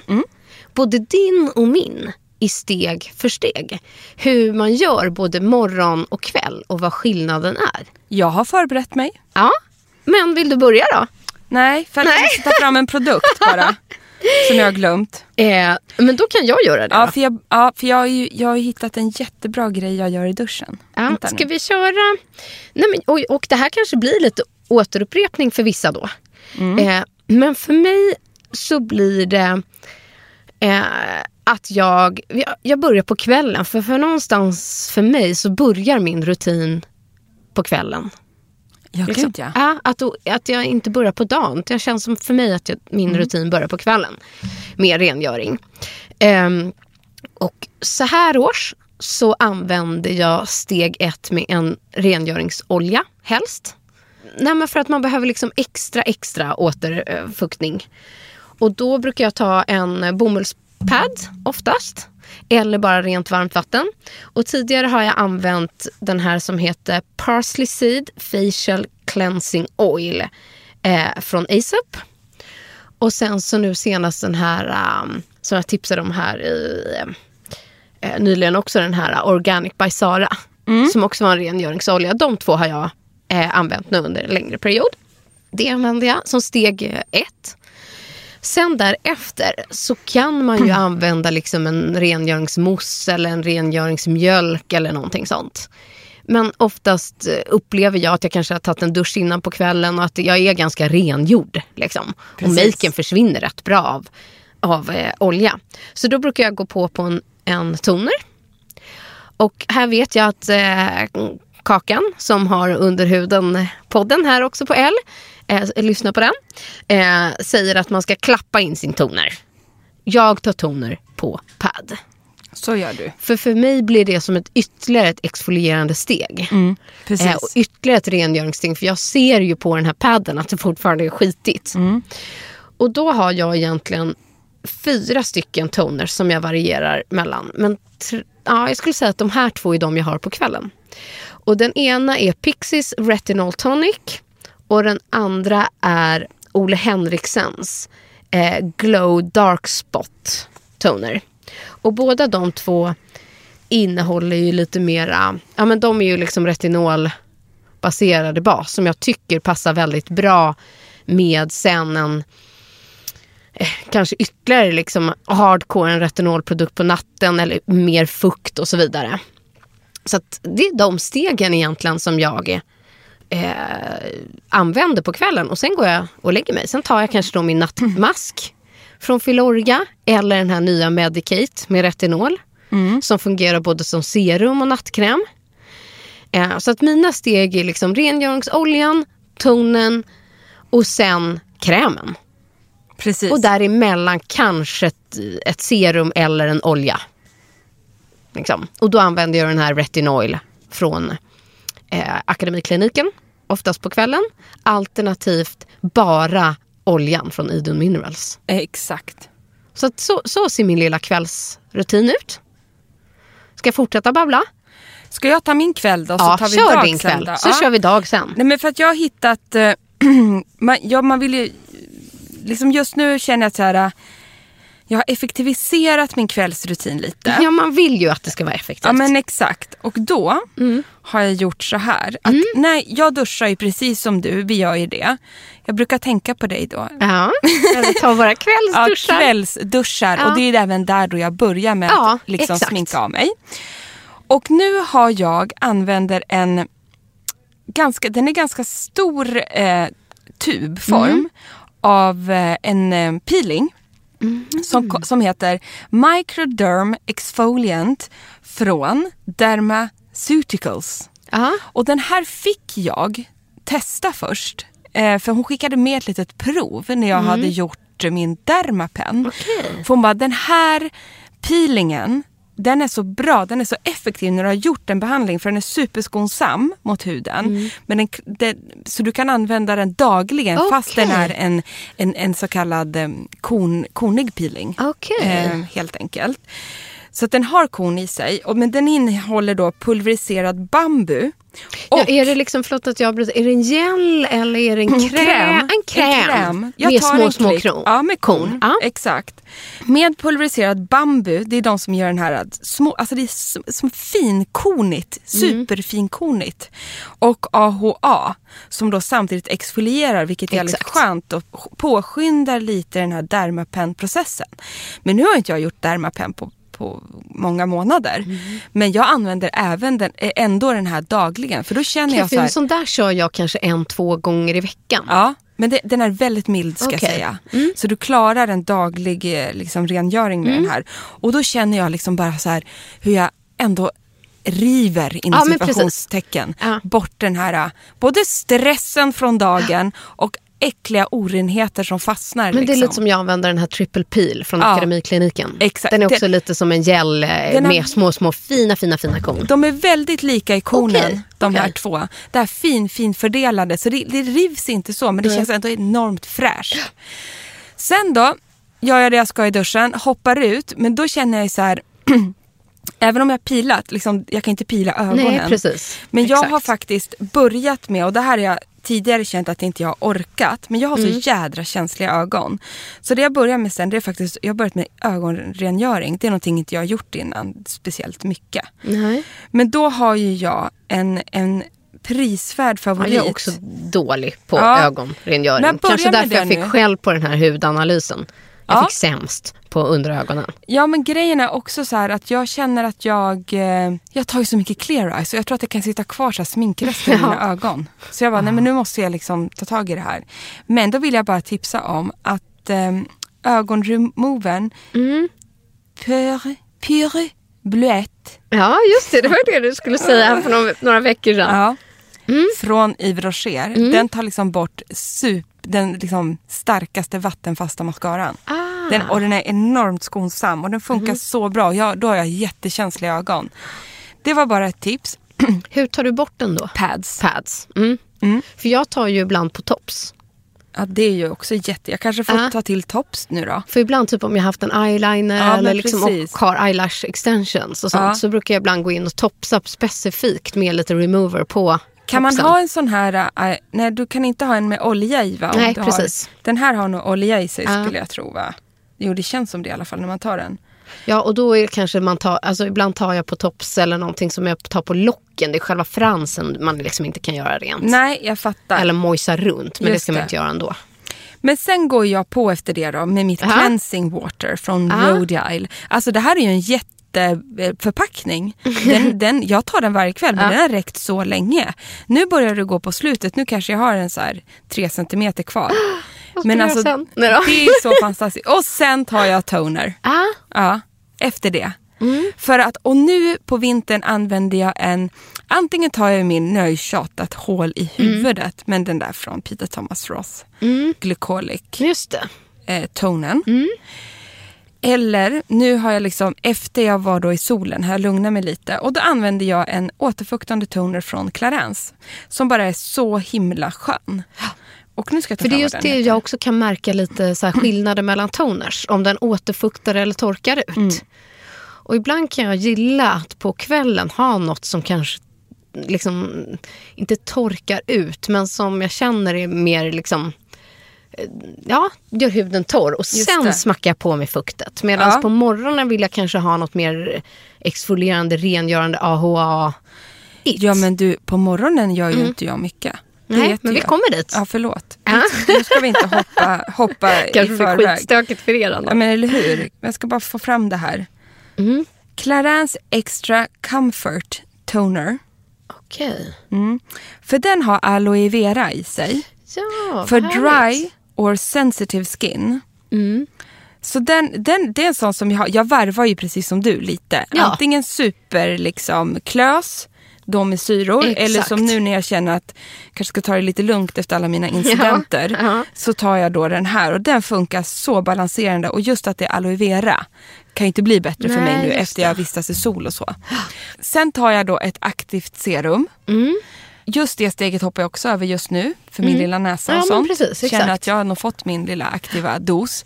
S3: Både din och min i steg för steg. Hur man gör både morgon och kväll och vad skillnaden är.
S2: Jag har förberett mig.
S3: Ja, men vill du börja då?
S2: Nej, för att jag ska ta fram en produkt bara. som jag har glömt.
S3: Eh, men då kan jag göra det.
S2: Ja,
S3: då.
S2: för, jag, ja, för jag, har ju, jag har hittat en jättebra grej jag gör i duschen.
S3: Ja,
S2: Vänta nu.
S3: ska vi köra... Nej, men, och, och det här kanske blir lite återupprepning för vissa då.
S2: Mm.
S3: Eh, men för mig så blir det eh, att jag, jag... Jag börjar på kvällen. För, för någonstans för mig så börjar min rutin på kvällen.
S2: Ja,
S3: Liksom.
S2: gud ja.
S3: Ja, att, då- att jag inte börjar på dagen. Det känns som för mig att jag, min
S2: Mm.
S3: rutin börjar på kvällen med rengöring. Ehm, och så här års så använder jag steg ett med en rengöringsolja helst. Nej, men för att man behöver liksom extra, extra återfuktning. Och då brukar jag ta en bomullspad oftast. Eller bara rent varmt vatten. Och tidigare har jag använt den här som heter Parsley Seed Facial Cleansing Oil eh, från ASAP. Och sen så nu senast den här ehm, som jag tipsade om här i, eh, nyligen också den här eh, Organic by Sara. Som också var en rengöringsolja. De två har jag eh, använt nu under en längre period. Det använder jag som steg eh, ett. Sen därefter så kan man ju använda liksom en rengöringsmousse eller en rengöringsmjölk eller någonting sånt. Men oftast eh, upplever jag att jag kanske har tagit en dusch innan på kvällen och att jag är ganska rengjord. Liksom. Och
S2: Precis.
S3: makeen försvinner rätt bra av, av eh, olja. Så då brukar jag gå på på en, en toner. Och här vet jag att eh, Kakan som har Underhuden-podden här också på L, eh, lyssna på den, eh, säger att man ska klappa in sin toner. Jag tar toner på pad.
S2: Så gör du.
S3: För för mig blir det som ett ytterligare ett exfolierande steg.
S2: Mm, Precis.
S3: Eh, och ytterligare ett rengöringsting. För jag ser ju på den här padden att det fortfarande är skitigt. Och då har jag egentligen fyra stycken toner som jag varierar mellan. Men tr- ja, jag skulle säga att de här två är de jag har på kvällen. Och den ena är Pixies Retinol Tonic. Och den andra är Ole Henriksens eh, Glow Dark Spot Toner. Och båda de två innehåller ju lite mera, ja men de är ju liksom retinolbaserade bas som jag tycker passar väldigt bra med sen en eh, kanske ytterligare liksom hardcore en retinolprodukt på natten eller mer fukt och så vidare. Så att det är de stegen egentligen som jag eh, använder på kvällen och sen går jag och lägger mig. Sen tar jag kanske då min nattmask från Filorga eller den här nya Medicate med retinol som fungerar både som serum och nattkräm. Eh, så att mina steg är liksom rengöringsoljan, tonen och sen krämen.
S2: Precis.
S3: Och däremellan kanske ett, ett serum eller en olja. Liksom. Och då använder jag den här Retinoil från eh, Akademikliniken, oftast på kvällen. Alternativt bara oljan från Idun Minerals.
S2: Exakt.
S3: Så, att så, så ser min lilla kvällsrutin ut. Ska jag fortsätta babbla?
S2: Ska jag ta min kväll då? Så
S3: ja,
S2: tar vi
S3: kör
S2: dag
S3: din
S2: sen
S3: kväll.
S2: då?
S3: Så
S2: Ja.
S3: kör vi dag sen.
S2: Nej men för att jag har hittat, eh, man, ja, man vill ju, liksom just nu känner jag att så här, eh, jag har effektiviserat min kvällsrutin lite.
S3: Ja, man vill ju att det ska vara effektivt.
S2: Ja men exakt. Och då har jag gjort så här. Att, Nej, jag duschar ju precis som du, vi gör ju det. Jag brukar tänka på dig då.
S3: Ja, när vi tar våra
S2: Ja,
S3: kvällsduschar.
S2: kvällsduschar.
S3: Ja.
S2: Och det är även där då jag börjar med
S3: Ja,
S2: att liksom
S3: exakt.
S2: sminka av mig. Och nu har jag, använder en ganska, den är ganska stor eh, tubform
S3: Mm.
S2: av eh, en eh, peeling.
S3: Mm.
S2: Som, ko- som heter Microderm Exfoliant från Dermaceuticals.
S3: Ja.
S2: Och den här fick jag testa först. Eh, för hon skickade med ett litet prov när jag hade gjort eh, min dermapen. För hon bara, den här peelingen den är så bra, den är så effektiv när du har gjort en behandling för den är superskonsam mot huden. Men den, den, så du kan använda den dagligen fast den
S3: Okej.
S2: är en, en, en så kallad eh, korn, kornig peeling.
S3: Okej.
S2: Eh, helt enkelt. Så att den har korn i sig, och, men den innehåller då pulveriserad bambu. Och
S3: ja, är det liksom, förlåt att jag bryter, är det en gel eller är det en kräm? En kräm.
S2: En kräm. Jag
S3: med
S2: tar
S3: små,
S2: en
S3: små
S2: klick.
S3: kron.
S2: Ja, med korn.
S3: Ja.
S2: Exakt. Med pulveriserad bambu, det är de som gör den här att små, alltså det är som, som finkornigt,
S3: Mm.
S2: superfinkornigt. Och AHA som då samtidigt exfolierar vilket är väldigt
S3: Exakt.
S2: skönt och påskyndar lite den här dermapen-processen. Men nu har inte jag gjort dermapen på på många månader.
S3: Mm.
S2: Men jag använder även den, ändå den här dagligen för då känner
S3: Okej,
S2: jag
S3: för
S2: så här,
S3: en sån där kör jag kanske en, två gånger i veckan.
S2: Ja, men det, den är väldigt mild ska
S3: Okej. Mm.
S2: jag säga. Så du klarar en daglig eh, liksom, rengöring med den här. Och då känner jag liksom bara så här hur jag ändå river inom
S3: Ja, men precis.
S2: situationstecken
S3: Ja.
S2: bort den här eh, både stressen från dagen och äckliga orenheter som fastnar.
S3: Men det är
S2: liksom.
S3: lite som jag använder den här triple peel från
S2: Ja.
S3: Akademikliniken.
S2: Exakt.
S3: Den är också
S2: Den-
S3: lite som en gel eh,
S2: Den har-
S3: med små, små fina, fina, fina korn.
S2: De är väldigt lika i konen,
S3: Okej,
S2: de här
S3: okej.
S2: två. Det här fin, fin fördelade. Så det, det rivs inte så, men det känns ändå enormt fräscht. Sen då, gör jag det jag ska i duschen, hoppar ut, men då känner jag ju så här... även om jag pilat, liksom, jag kan inte pila ögonen.
S3: Nej, precis.
S2: Men jag har
S3: Exakt.
S2: faktiskt börjat med, och det här har jag tidigare känt att inte jag har orkat, men jag har
S3: Mm.
S2: så jädra känsliga ögon. Så det jag börjar med sen, det är faktiskt, jag har börjat med ögonrengöring. Det är någonting inte jag har gjort innan speciellt mycket.
S3: Nej.
S2: Men då har ju jag en, en prisvärd
S3: Ja,
S2: favorit.
S3: jag är också dålig på
S2: Ja.
S3: ögonrengöring.
S2: Men börja
S3: Kanske
S2: med
S3: därför jag
S2: det
S3: fick
S2: nu.
S3: skäll på den här hudanalysen. Jag
S2: Ja.
S3: fick sämst på undre ögonen.
S2: Ja men grejen är också så här att jag känner att jag, eh, jag tar ju så mycket clear eyes och jag tror att det kan sitta kvar så här sminkrester i mina ögon. Så jag bara, nej men nu måste jag liksom ta tag i det här. Men då vill jag bara tipsa om att eh, ögonremovern
S3: Mm.
S2: Pure, pure Bluett
S3: Ja, just det. Det var det du skulle säga här för några, några veckor sedan.
S2: Ja.
S3: Mm.
S2: Mm. Från Yves Rocher. Den tar liksom bort sup, den liksom starkaste vattenfasta mascaran.
S3: Ah.
S2: Den, och den är enormt skonsam och den funkar
S3: Mm.
S2: så bra. Jag, då har jag jättekänsliga ögon. Det var bara ett tips.
S3: Hur tar du bort den då?
S2: Pads.
S3: Pads. Mm. För jag tar ju ibland på tops.
S2: Ja, det är ju också jätte... Jag kanske får
S3: Ja.
S2: ta till tops nu då.
S3: För ibland typ om jag haft en eyeliner
S2: Ja, men
S3: eller liksom
S2: precis.
S3: och har eyelash extensions och sånt
S2: Ja.
S3: så brukar jag ibland gå in och topsa specifikt med lite remover på
S2: Kan man
S3: topsen.
S2: ha en sån här... äh, nej, du kan inte ha en med olja i va? Om
S3: Nej,
S2: du
S3: precis. Ah.
S2: Har, den här har nog olja i sig
S3: Ja.
S2: skulle jag tro va? Jo, det känns som det i alla fall när man tar den.
S3: Ja, och då är det kanske man tar, alltså ibland tar jag på tops eller någonting som jag tar på locken. Det är själva fransen man liksom inte kan göra rent.
S2: Nej, jag fattar.
S3: Eller mojsa runt, men det
S2: Just
S3: ska man
S2: det.
S3: inte göra ändå.
S2: Men sen går jag på efter det då med mitt
S3: Aha.
S2: cleansing water från
S3: Aha.
S2: Rhode Isle. Alltså det här är ju en jätteförpackning. Den, den, jag tar den varje kväll men den har räckt så länge. Nu börjar det gå på slutet, nu kanske jag har en så här tre centimeter kvar. alltså,
S3: Vad ska du göra sen?
S2: det
S3: Nej då.
S2: är så fantastiskt. Och sen tar jag toner.
S3: Ah,
S2: Ja, efter det.
S3: Mm.
S2: För att, och nu på vintern använder jag en, antingen tar jag min, nu har jag ju tjatat
S3: Mm.
S2: hål i huvudet, men den där från Peter Thomas Roth, Glycolic
S3: just det.
S2: eh, tonen.
S3: Mm.
S2: Eller, nu har jag liksom, efter jag var då i solen, har jag lugnat mig lite och då använder jag en återfuktande toner från Clarence som bara är så himla skön. Och nu ska jag ta
S3: För det är
S2: fram
S3: just
S2: vad
S3: det
S2: den heter.
S3: jag också kan märka lite så här skillnader mellan toners. Om den återfuktar eller torkar ut.
S2: Mm.
S3: Och ibland kan jag gilla att på kvällen ha något som kanske liksom inte torkar ut men som jag känner är mer liksom eh, Ja, gör huden torr och
S2: Just
S3: sen
S2: det.
S3: smackar jag på med fuktet. Medan
S2: Ja.
S3: på morgonen vill jag kanske ha något mer exfolierande, rengörande, AHA. -igt.
S2: Ja men du, på morgonen gör ju inte jag mycket. Det
S3: Mm. Nej,
S2: vet
S3: men
S2: ju
S3: vi
S2: jag.
S3: kommer dit.
S2: Ja, förlåt. Nu ska vi inte hoppa, hoppa i
S3: kanske blir
S2: förväg.
S3: skitstökigt för er annars.
S2: Ja, men eller hur? Jag ska bara få fram det här.
S3: Mm.
S2: Clarins Extra Comfort Toner.
S3: Okej.
S2: För den har aloe vera i sig.
S3: Ja,
S2: för
S3: härligt. Mm.
S2: dry or sensitive skin. Så den, den, det är en sån som jag har. Jag varvar ju precis som du lite.
S3: Ja.
S2: Antingen super liksom klös, då med syror.
S3: Exakt.
S2: Eller som nu när jag känner att jag kanske ska ta det lite lugnt efter alla mina incidenter.
S3: ja.
S2: Så tar jag då den här och den funkar så balanserande. Och just att det är aloe vera kan ju inte bli bättre för
S3: Nej,
S2: mig nu
S3: just
S2: efter jag vistas i sol och så. Sen tar jag då ett aktivt serum. Just det steget hoppar jag också över just nu för min lilla näsa och
S3: Mm. Ja, men
S2: sånt.
S3: precis,
S2: Känner
S3: exakt. Mm.
S2: att jag har nog fått min lilla aktiva dos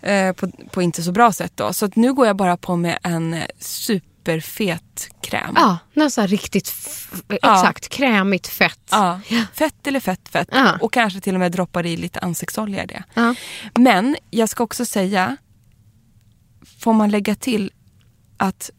S2: eh, på, på inte så bra sätt då. Så att nu går jag bara på med en eh, superfet kräm.
S3: Ja, något så här riktigt f- exakt krämigt fett.
S2: Ja. Fett eller fett fett
S3: Ja.
S2: och kanske till och med droppar i lite ansiktsolja i det.
S3: Ja.
S2: Men jag ska också säga, får man lägga till att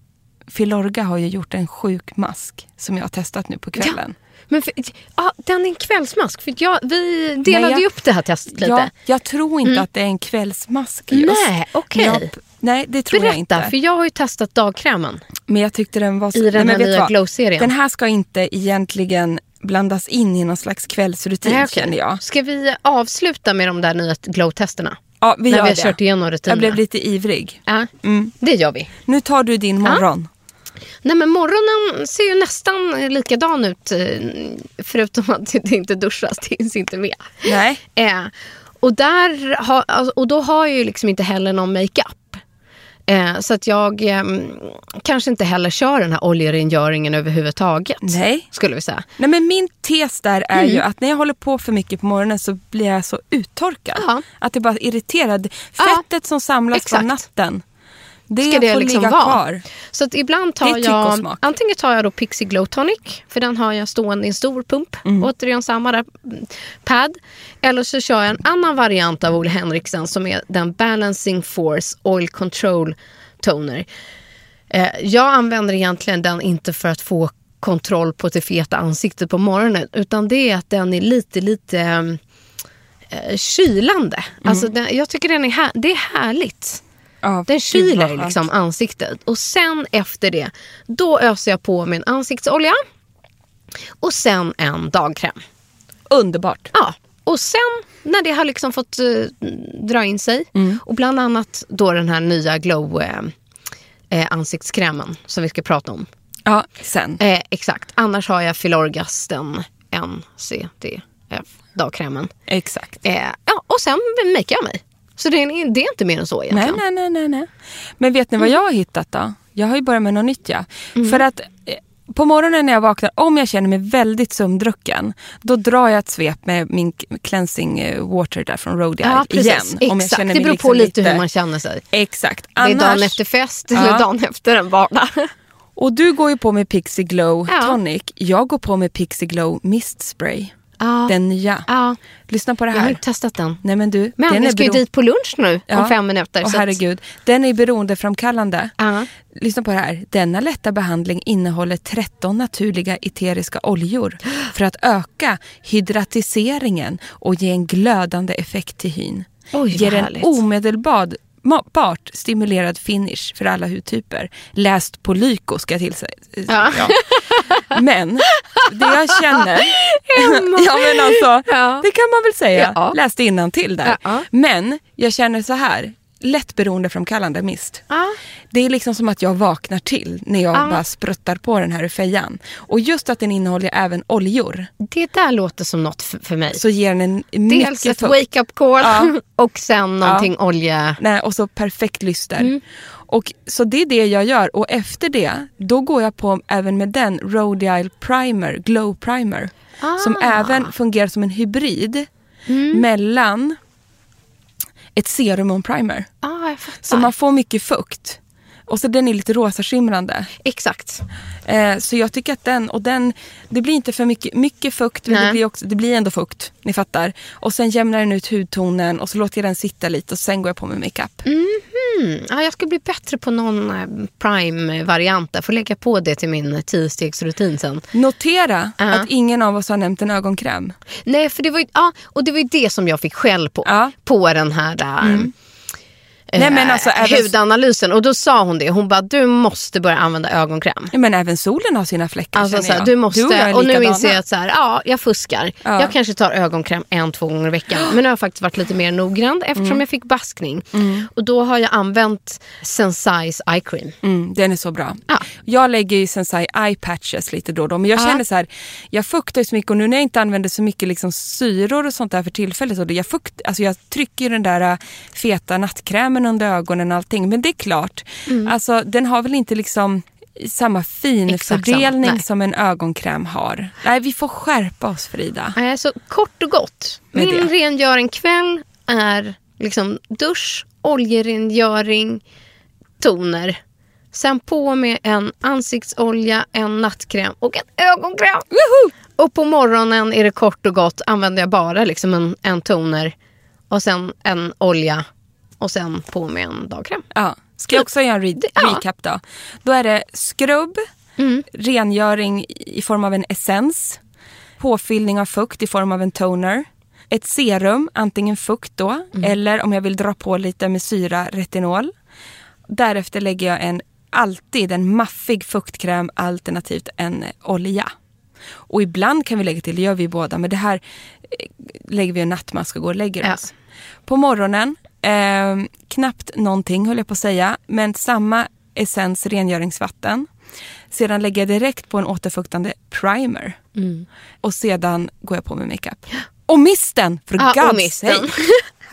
S2: Filorga har ju gjort en sjuk mask som jag har testat nu på kvällen.
S3: Men för, ja, den är en kvällsmask. För jag, vi delade
S2: Nej, jag-
S3: ju upp det här testet lite. Mm.
S2: Ja, jag tror inte att det är en kvällsmask just.
S3: Nej, okej.
S2: Jag- Nej, det tror
S3: Berätta,
S2: jag inte.
S3: för jag har ju testat dagkrämen.
S2: Men jag tyckte den var så...
S3: I den
S2: Nej, men
S3: här
S2: vet
S3: nya
S2: vad?
S3: Glow-serien.
S2: Den här ska inte egentligen blandas in i någon slags kvällsrutin
S3: Nej, okej.
S2: känner jag.
S3: Ska vi avsluta med de där nya glow-testerna?
S2: Ja, vi
S3: När
S2: gör
S3: vi har
S2: det.
S3: kört igenom
S2: Jag
S3: rutinerna.
S2: blev lite ivrig.
S3: Ja,
S2: Mm.
S3: det gör vi.
S2: Nu tar du din morgon.
S3: Nej, men morgonen ser ju nästan eh, likadan ut, eh, förutom att det inte duschas. Det hinns inte med.
S2: Nej.
S3: Eh, och, där har- alltså, och då har jag ju liksom inte heller någon makeup. Eh, så att jag eh, kanske inte heller kör den här oljerengöringen överhuvudtaget.
S2: Nej.
S3: Skulle vi säga.
S2: Nej men min tes där är
S3: Mm.
S2: ju att när jag håller på för mycket på morgonen så blir jag så uttorkad.
S3: Ja.
S2: Att det bara irriterar.
S3: Ja,
S2: Fettet som samlas
S3: exakt.
S2: från natten. Det
S3: Ska det
S2: får
S3: liksom
S2: ligga
S3: vara?
S2: kvar.
S3: Så att ibland
S2: Det är
S3: tar
S2: tyck och
S3: jag
S2: smak.
S3: antingen tar jag då Pixie Glow Tonic, för den har jag stående i en stor pump. Återigen samma där, mm, pad. Eller så kör jag en annan variant av Ole Henriksen som är den Balancing Force Oil Control Toner. Eh, jag använder egentligen den inte för att få kontroll på det feta ansiktet på morgonen utan det är att den är lite, lite mm, eh, kylande. Alltså
S2: Mm.
S3: den, jag tycker den är, här, det är härligt.
S2: Ja,
S3: Den
S2: gud vad
S3: kyler
S2: skönt.
S3: liksom ansiktet. Och sen efter det, då öser jag på min ansiktsolja. Och sen en dagkräm.
S2: Underbart.
S3: Ja. Och sen när det har liksom fått eh, dra in sig.
S2: Mm.
S3: Och bland annat då den här nya glow eh, eh, ansiktskrämen som vi ska prata om.
S2: Ja, sen.
S3: Eh, exakt. Annars har jag Filorgas den NCDF dagkrämen.
S2: Exakt.
S3: Eh, ja, och sen makear jag mig. Så det är, det är inte mer än så egentligen.
S2: Nej, nej, nej, nej, nej. Men vet ni
S3: Mm.
S2: vad jag har hittat då? Jag har ju börjat med något nytt ja. För att eh, på morgonen när jag vaknar, om jag känner mig väldigt sömndrucken, då drar jag ett svep med min k- cleansing eh, water där från Rhode
S3: Ja,
S2: Isle
S3: precis.
S2: igen. Om jag
S3: Exakt.
S2: känner
S3: Det
S2: mig liksom
S3: beror på lite hur man känner sig.
S2: Exakt.
S3: Det är dagen
S2: Annars-
S3: efter fest
S2: Ja.
S3: eller dagen efter en vardag.
S2: Och du går ju på med Pixie Glow
S3: Ja.
S2: Tonic. Jag går på med Pixie Glow Mist Spray.
S3: Ja.
S2: Den nya.
S3: Ja.
S2: Lyssna på det
S3: Jag har
S2: här.
S3: inte testat den.
S2: Nej men du,
S3: Men
S2: den
S3: vi
S2: är
S3: ska ju
S2: bero-
S3: dit på lunch nu
S2: Ja.
S3: om fem minuter.
S2: Åh,
S3: så att-
S2: herregud. Den är beroendeframkallande.
S3: Ja.
S2: Lyssna på det här. Denna lätta behandling innehåller 13 naturliga eteriska oljor för att öka hydratiseringen och ge en glödande effekt till hyn.
S3: Oj, vad
S2: Ger en
S3: härligt.
S2: omedelbart bart stimulerad finish för alla hudtyper. Läst på Lyko ska jag tillsäga. Ja. Men det jag känner... ja, men alltså,
S3: Ja.
S2: Det kan man väl säga.
S3: Ja.
S2: Läste innan till där.
S3: Ja.
S2: Men jag känner så här. lätt beroendeframkallande mist.
S3: Ja.
S2: Det är liksom som att jag vaknar till när jag
S3: Ja.
S2: bara spruttar på den här ur fejan. Och just att den innehåller även oljor
S3: Det där låter som något för, för mig.
S2: så ger den en
S3: Dels
S2: mycket
S3: ett
S2: fukt.
S3: wake-up call
S2: Ja.
S3: och sen någonting olja.
S2: Nej, och så perfekt lyster.
S3: Mm.
S2: Och, så det är det jag gör och efter det då går jag på även med den Rhode Isle Primer, Glow Primer.
S3: Ah.
S2: Som även fungerar som en hybrid
S3: Mm.
S2: mellan ett serum och en primer.
S3: ah, jag fattar.
S2: Så man får mycket fukt. Och så den är lite rosaskimrande.
S3: Exakt.
S2: Eh, så jag tycker att den, och den, det blir inte för mycket, mycket fukt men det
S3: Nej.
S2: blir, också, det blir ändå fukt, ni fattar. Och sen jämnar den ut hudtonen och så låter jag den sitta lite och sen går jag på med makeup.
S3: Mm. Ja, jag ska bli bättre på någon eh, prime-variant. Jag får lägga på det till min tiostegsrutin sen.
S2: Notera
S3: Ja.
S2: att ingen av oss har nämnt en ögonkräm.
S3: Nej, för det var ju, ja, och det var ju det som jag fick skäll på.
S2: Ja. Mm.
S3: På den här där, eh,
S2: Nej, men alltså, även-
S3: hudanalysen. Och då sa hon det. Hon bara, du måste börja använda ögonkräm.
S2: Ja, Men även solen har sina fläckar
S3: Alltså,
S2: känner
S3: så här,
S2: jag.
S3: du måste,
S2: jag är
S3: och nu
S2: likadana.
S3: inser jag att så här, ja, jag fuskar.
S2: Ja.
S3: Jag kanske tar ögonkräm en, två gånger i veckan. Men nu har jag faktiskt varit lite mer noggrann eftersom
S2: Mm.
S3: jag fick baskning. Och då har jag använt Sensize Eye Cream.
S2: Mm, den är så bra.
S3: Ja.
S2: Jag lägger ju Sensai eye patches lite då och då. Men jag
S3: Ja.
S2: känner så här, jag fuktar ju så mycket och nu när jag inte använder så mycket liksom syror och sånt där för tillfället. Så det, jag, fukt, alltså jag trycker ju den där äh, feta nattkrämen under ögonen och allting. Men det är klart, alltså, den har väl inte liksom samma
S3: Mm. Exakt
S2: finfördelning
S3: samma, nej.
S2: som en ögonkräm har. Nej, vi får skärpa oss Frida.
S3: Nej, Så kort och gott.
S2: Med
S3: Min
S2: det.
S3: rengöring kväll är liksom dusch, oljerengöring, toner. Sen på med en ansiktsolja, en nattkräm och en ögonkräm. Och på morgonen är det kort och gott. Använder jag bara liksom en, en toner och sen en olja och sen på med en dagkräm.
S2: Ja. Ska jag också göra en re-
S3: Det- ja. Mm.
S2: recap då? Då är det skrubb, rengöring i form av en essens, påfyllning av fukt i form av en toner, ett serum, antingen fukt då,
S3: Mm.
S2: eller om jag vill dra på lite med syra, retinol. Därefter lägger jag en, alltid en maffig fuktkräm alternativt en eh, olja. Och ibland kan vi lägga till, det gör vi båda, men det här eh, lägger vi en nattmask och går och lägger
S3: Ja.
S2: oss. På morgonen, eh, knappt någonting höll jag på att säga, men samma essens rengöringsvatten. Sedan lägger jag direkt på en återfuktande primer.
S3: Mm.
S2: Och sedan går jag på med makeup. Och misten! För
S3: Ja, och
S2: God's
S3: misten.
S2: sake!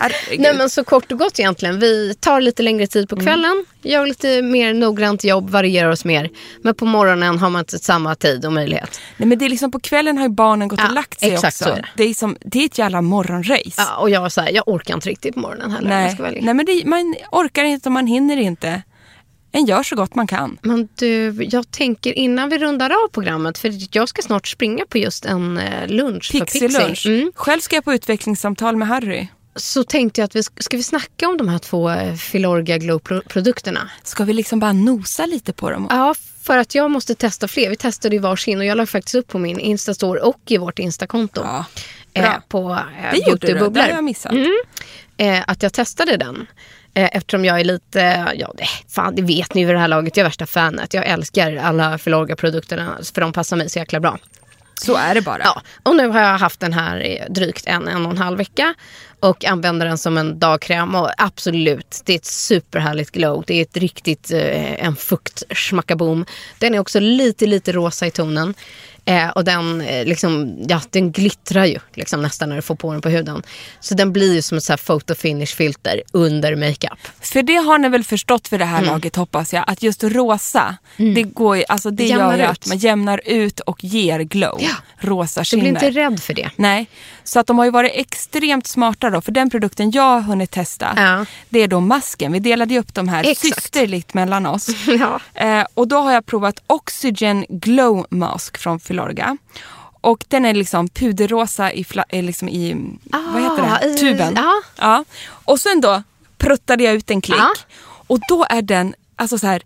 S2: Herregud.
S3: Nej men så kort och gott egentligen. Vi tar lite längre tid på kvällen, gör lite mer noggrant jobb, varierar oss mer. Men på morgonen har man inte samma tid och möjlighet.
S2: Nej, men det är liksom på kvällen har ju barnen gått
S3: Ja,
S2: och lagt sig
S3: exakt
S2: också.
S3: så är det.
S2: Det är, som, det är ett jävla morgonrace.
S3: Ja, och jag, så här, jag orkar inte riktigt på morgonen heller. om jag
S2: Nej.
S3: ska vara ärlig.
S2: Nej, men det, man orkar inte och man hinner inte. En gör så gott man kan.
S3: Men du, jag tänker innan vi rundar av programmet, för jag ska snart springa på just en eh, lunch för Pixie.
S2: Pixie-lunch.
S3: Mm.
S2: Själv ska jag på utvecklingssamtal med Harry.
S3: Så tänkte jag att vi ska, ska vi snacka om de här två eh, Filorga Glow-produkterna.
S2: Ska vi liksom bara nosa lite på dem?
S3: Ja, för att jag måste testa fler. Vi testade ju varsin och jag la faktiskt upp på min Instastore och i vårt Instakonto.
S2: Ja, bra.
S3: eh, på eh,
S2: det gjorde du. Det
S3: Beautybubblor.
S2: har jag missat.
S3: eh, att jag testade den. Eh, eftersom jag är lite, eh, ja det, fan det vet ni vid det här laget, jag är värsta fanet. Jag älskar alla Filorga produkterna för de passar mig så jäkla bra.
S2: Så är det bara.
S3: Ja, och nu har jag haft den här i drygt en, en och en halv vecka och använder den som en dagkräm och absolut, det är ett superhärligt glow. Det är ett riktigt, eh, en fukt schmackaboom. Den är också lite, lite rosa i tonen. Eh, och den, eh, liksom, ja, den glittrar ju liksom, nästan när du får på den på huden. Så den blir ju som ett så här photo finish filter under makeup.
S2: För det har ni väl förstått för det
S3: Mm.
S2: här laget hoppas jag, att just rosa, det, går, ju- alltså det
S3: Det
S2: gör
S3: jämnar
S2: ju
S3: ut.
S2: att man jämnar ut och ger glow. Rosa
S3: Du
S2: skimmer.
S3: blir inte rädd för det.
S2: Nej, så att de har ju varit extremt smarta då. För den produkten jag har hunnit testa,
S3: Ja.
S2: det är då masken. Vi delade ju upp de här
S3: Exakt.
S2: systerligt mellan oss.
S3: Ja.
S2: Eh, och då har jag provat Oxygen Glow Mask från Filorga. Och den är liksom puderrosa i, fla- eh, liksom i vad heter det?
S3: Ah, i-
S2: tuben.
S3: ja.
S2: Ja. Och sen då pruttade jag ut en klick.
S3: Ja.
S2: Och då är den alltså så här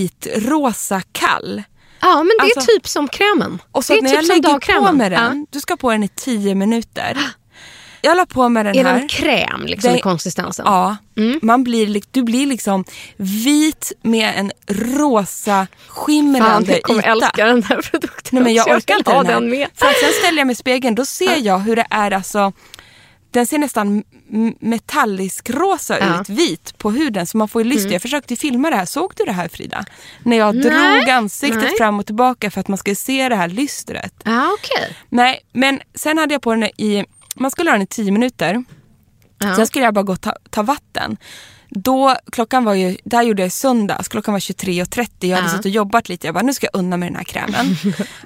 S2: vitrosa kall.
S3: Ja, men det
S2: Alltså-
S3: är typ som krämen.
S2: Och så
S3: det är
S2: att när
S3: typ
S2: jag
S3: som
S2: lägger på
S3: dagkrämen.
S2: med den, du ska på den i 10 minuter. Jag la på med den
S3: Ja. Är
S2: här.
S3: den Mm. kräm liksom,
S2: Den-
S3: i konsistensen?
S2: Ja, man blir, lik- du blir liksom vit med en rosa
S3: Fan,
S2: skimrande
S3: jag kommer
S2: yta.
S3: älska den här produkten.
S2: Nej, men jag
S3: också.
S2: orkar
S3: ska
S2: inte
S3: ta
S2: den här.
S3: den med.
S2: För att sen ställer jag mig i spegeln, då ser jag hur det är alltså den ser nästan m- metallisk rosa
S3: Ja. Mm.
S2: ut, vit på huden. Så man får ju lyst. Jag försökte filma det här. Såg du det här Frida? När jag drog ansiktet
S3: nej.
S2: fram och tillbaka för att man skulle se det här lystret.
S3: Ja, Ah, okej.
S2: Nej, men sen hade jag på den i, man skulle ha den i 10 minuter. Sen skulle jag bara gå och ta, ta vatten. Då, klockan var ju, det här gjorde jag i söndags, klockan var 23.30. Jag hade
S3: Ja.
S2: suttit och jobbat lite. Jag bara, nu ska jag unna mig den här krämen.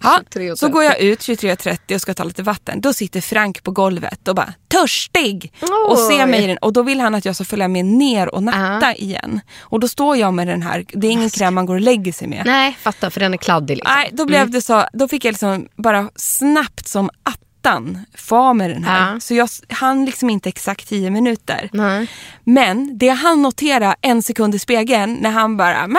S2: Ja,
S3: 23.30.
S2: så går jag ut 23.30 och ska ta lite vatten. Då sitter Frank på golvet och bara, törstig! Och ser
S3: Oj.
S2: mig i den. Och då vill han att jag ska följa med ner och natta igen. Och då står jag med den här, det är ingen kräm man går och lägger sig med.
S3: Nej, fattar för den är kladdig. Liksom.
S2: Nej, då blev det så. Då fick jag liksom bara snabbt som attan få av mig den här.
S3: Ja.
S2: Så jag hann liksom inte exakt 10 minuter.
S3: Nej.
S2: Men det han notera en sekund i spegeln när han bara mamma,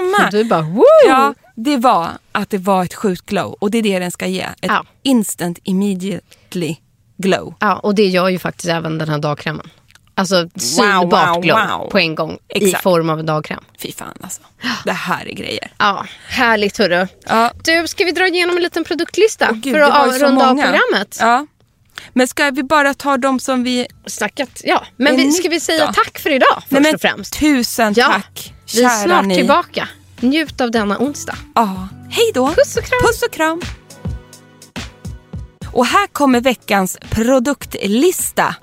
S2: mamma.
S3: Du bara woo!
S2: Ja, det var att det var ett sjukt glow och det är det den ska ge. Ett
S3: Ja.
S2: instant immediately glow.
S3: Ja, och det gör ju faktiskt även den här dagkrämen. Alltså synbart
S2: wow,
S3: glow
S2: wow.
S3: på en gång i
S2: Exakt.
S3: form av en dagkräm.
S2: Fy fan alltså. Det här är grejer.
S3: Ja, härligt hörru.
S2: Ja.
S3: Du, ska vi dra igenom en liten produktlista
S2: Gud,
S3: för
S2: det var ju
S3: att
S2: så
S3: runda av
S2: många.
S3: programmet?
S2: Ja. Men ska vi bara ta de som vi
S3: Snackat, ja. Men
S2: Är
S3: vi,
S2: nytt
S3: ska vi säga
S2: då?
S3: tack för idag först
S2: Nej, men
S3: och främst?
S2: Tusen
S3: Ja,
S2: tack,
S3: Vi är snart
S2: ni.
S3: tillbaka. Njut av denna onsdag.
S2: Ja. Hej då.
S3: Puss och kram.
S2: Puss och kram. Och här kommer veckans produktlista.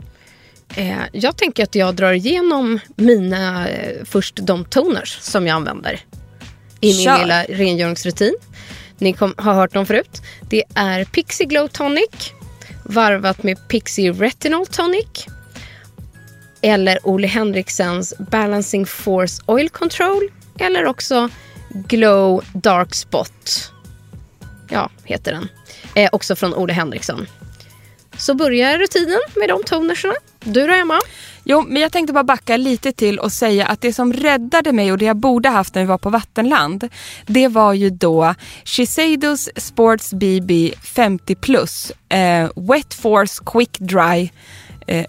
S3: Eh, jag tänker att jag drar igenom mina, eh, först de toners som jag använder i min
S2: Kör.
S3: lilla rengöringsrutin. Ni kom, har hört dem förut. Det är Pixie Glow Tonic varvat med Pixie Retinol Tonic eller Ole Henriksens Balancing Force Oil Control eller också Glow Dark Spot. Ja, heter den. Eh, också från Ole Henriksson. Så börjar rutinen med de tonerserna. Du då, Emma?
S2: Jo, men jag tänkte bara backa lite till och säga att det som räddade mig och det jag borde haft när vi var på Vattenland, det var ju då Shiseidos Sports BB 50 plus eh, Wet Force Quick Dry, eh,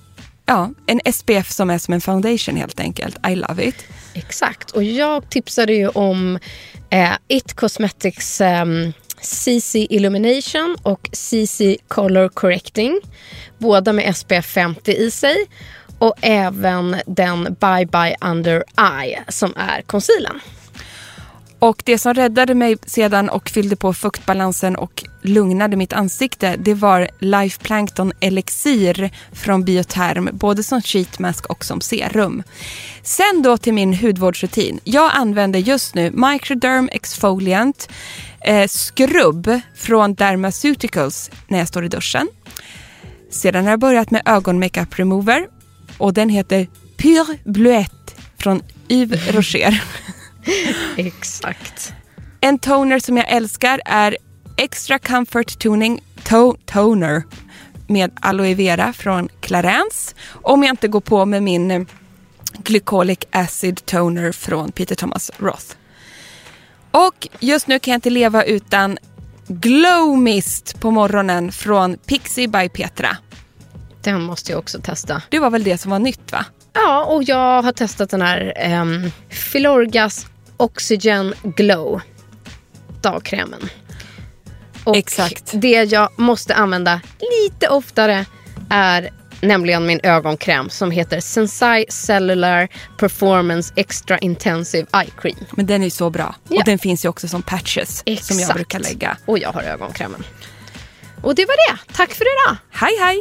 S2: ja, en SPF som är som en foundation helt enkelt. I love it.
S3: Exakt. Och jag tipsade ju om eh, It Cosmetics ehm, CC Illumination och CC Color Correcting. Båda med SPF 50 i sig. Och även den Bye Bye Under Eye som är concealern.
S2: Och det som räddade mig sedan och fyllde på fuktbalansen och lugnade mitt ansikte, det var Life Plankton Elixir från Bioterm, både som sheetmask och som serum. Sen då till min hudvårdsrutin. Jag använder just nu Microderm Exfoliant, eh, skrubb från Dermaceuticals när jag står i duschen. Sedan har jag börjat med ögonmakeup remover och den heter Pure Bluette från Yves Rocher.
S3: Exakt.
S2: En toner som jag älskar är Extra Comfort Tuning to- Toner med aloe vera från Clarence. Om jag inte går på med min eh, Glycolic Acid Toner från Peter Thomas Roth. Och just nu kan jag inte leva utan Glow Mist på morgonen från Pixie by Petra.
S3: Den måste jag också testa.
S2: Det var väl det som var nytt va?
S3: Ja, och jag har testat den här ehm, Filorgas Oxygen Glow dagkrämen. Och
S2: Exakt.
S3: det jag måste använda lite oftare är nämligen min ögonkräm som heter Sensai Cellular Performance Extra Intensive Eye Cream.
S2: Men den är ju så bra.
S3: Ja.
S2: Och den finns ju också som patches som jag brukar lägga.
S3: Och jag har ögonkrämen. Och det var det. Tack för idag.
S2: Hej hej!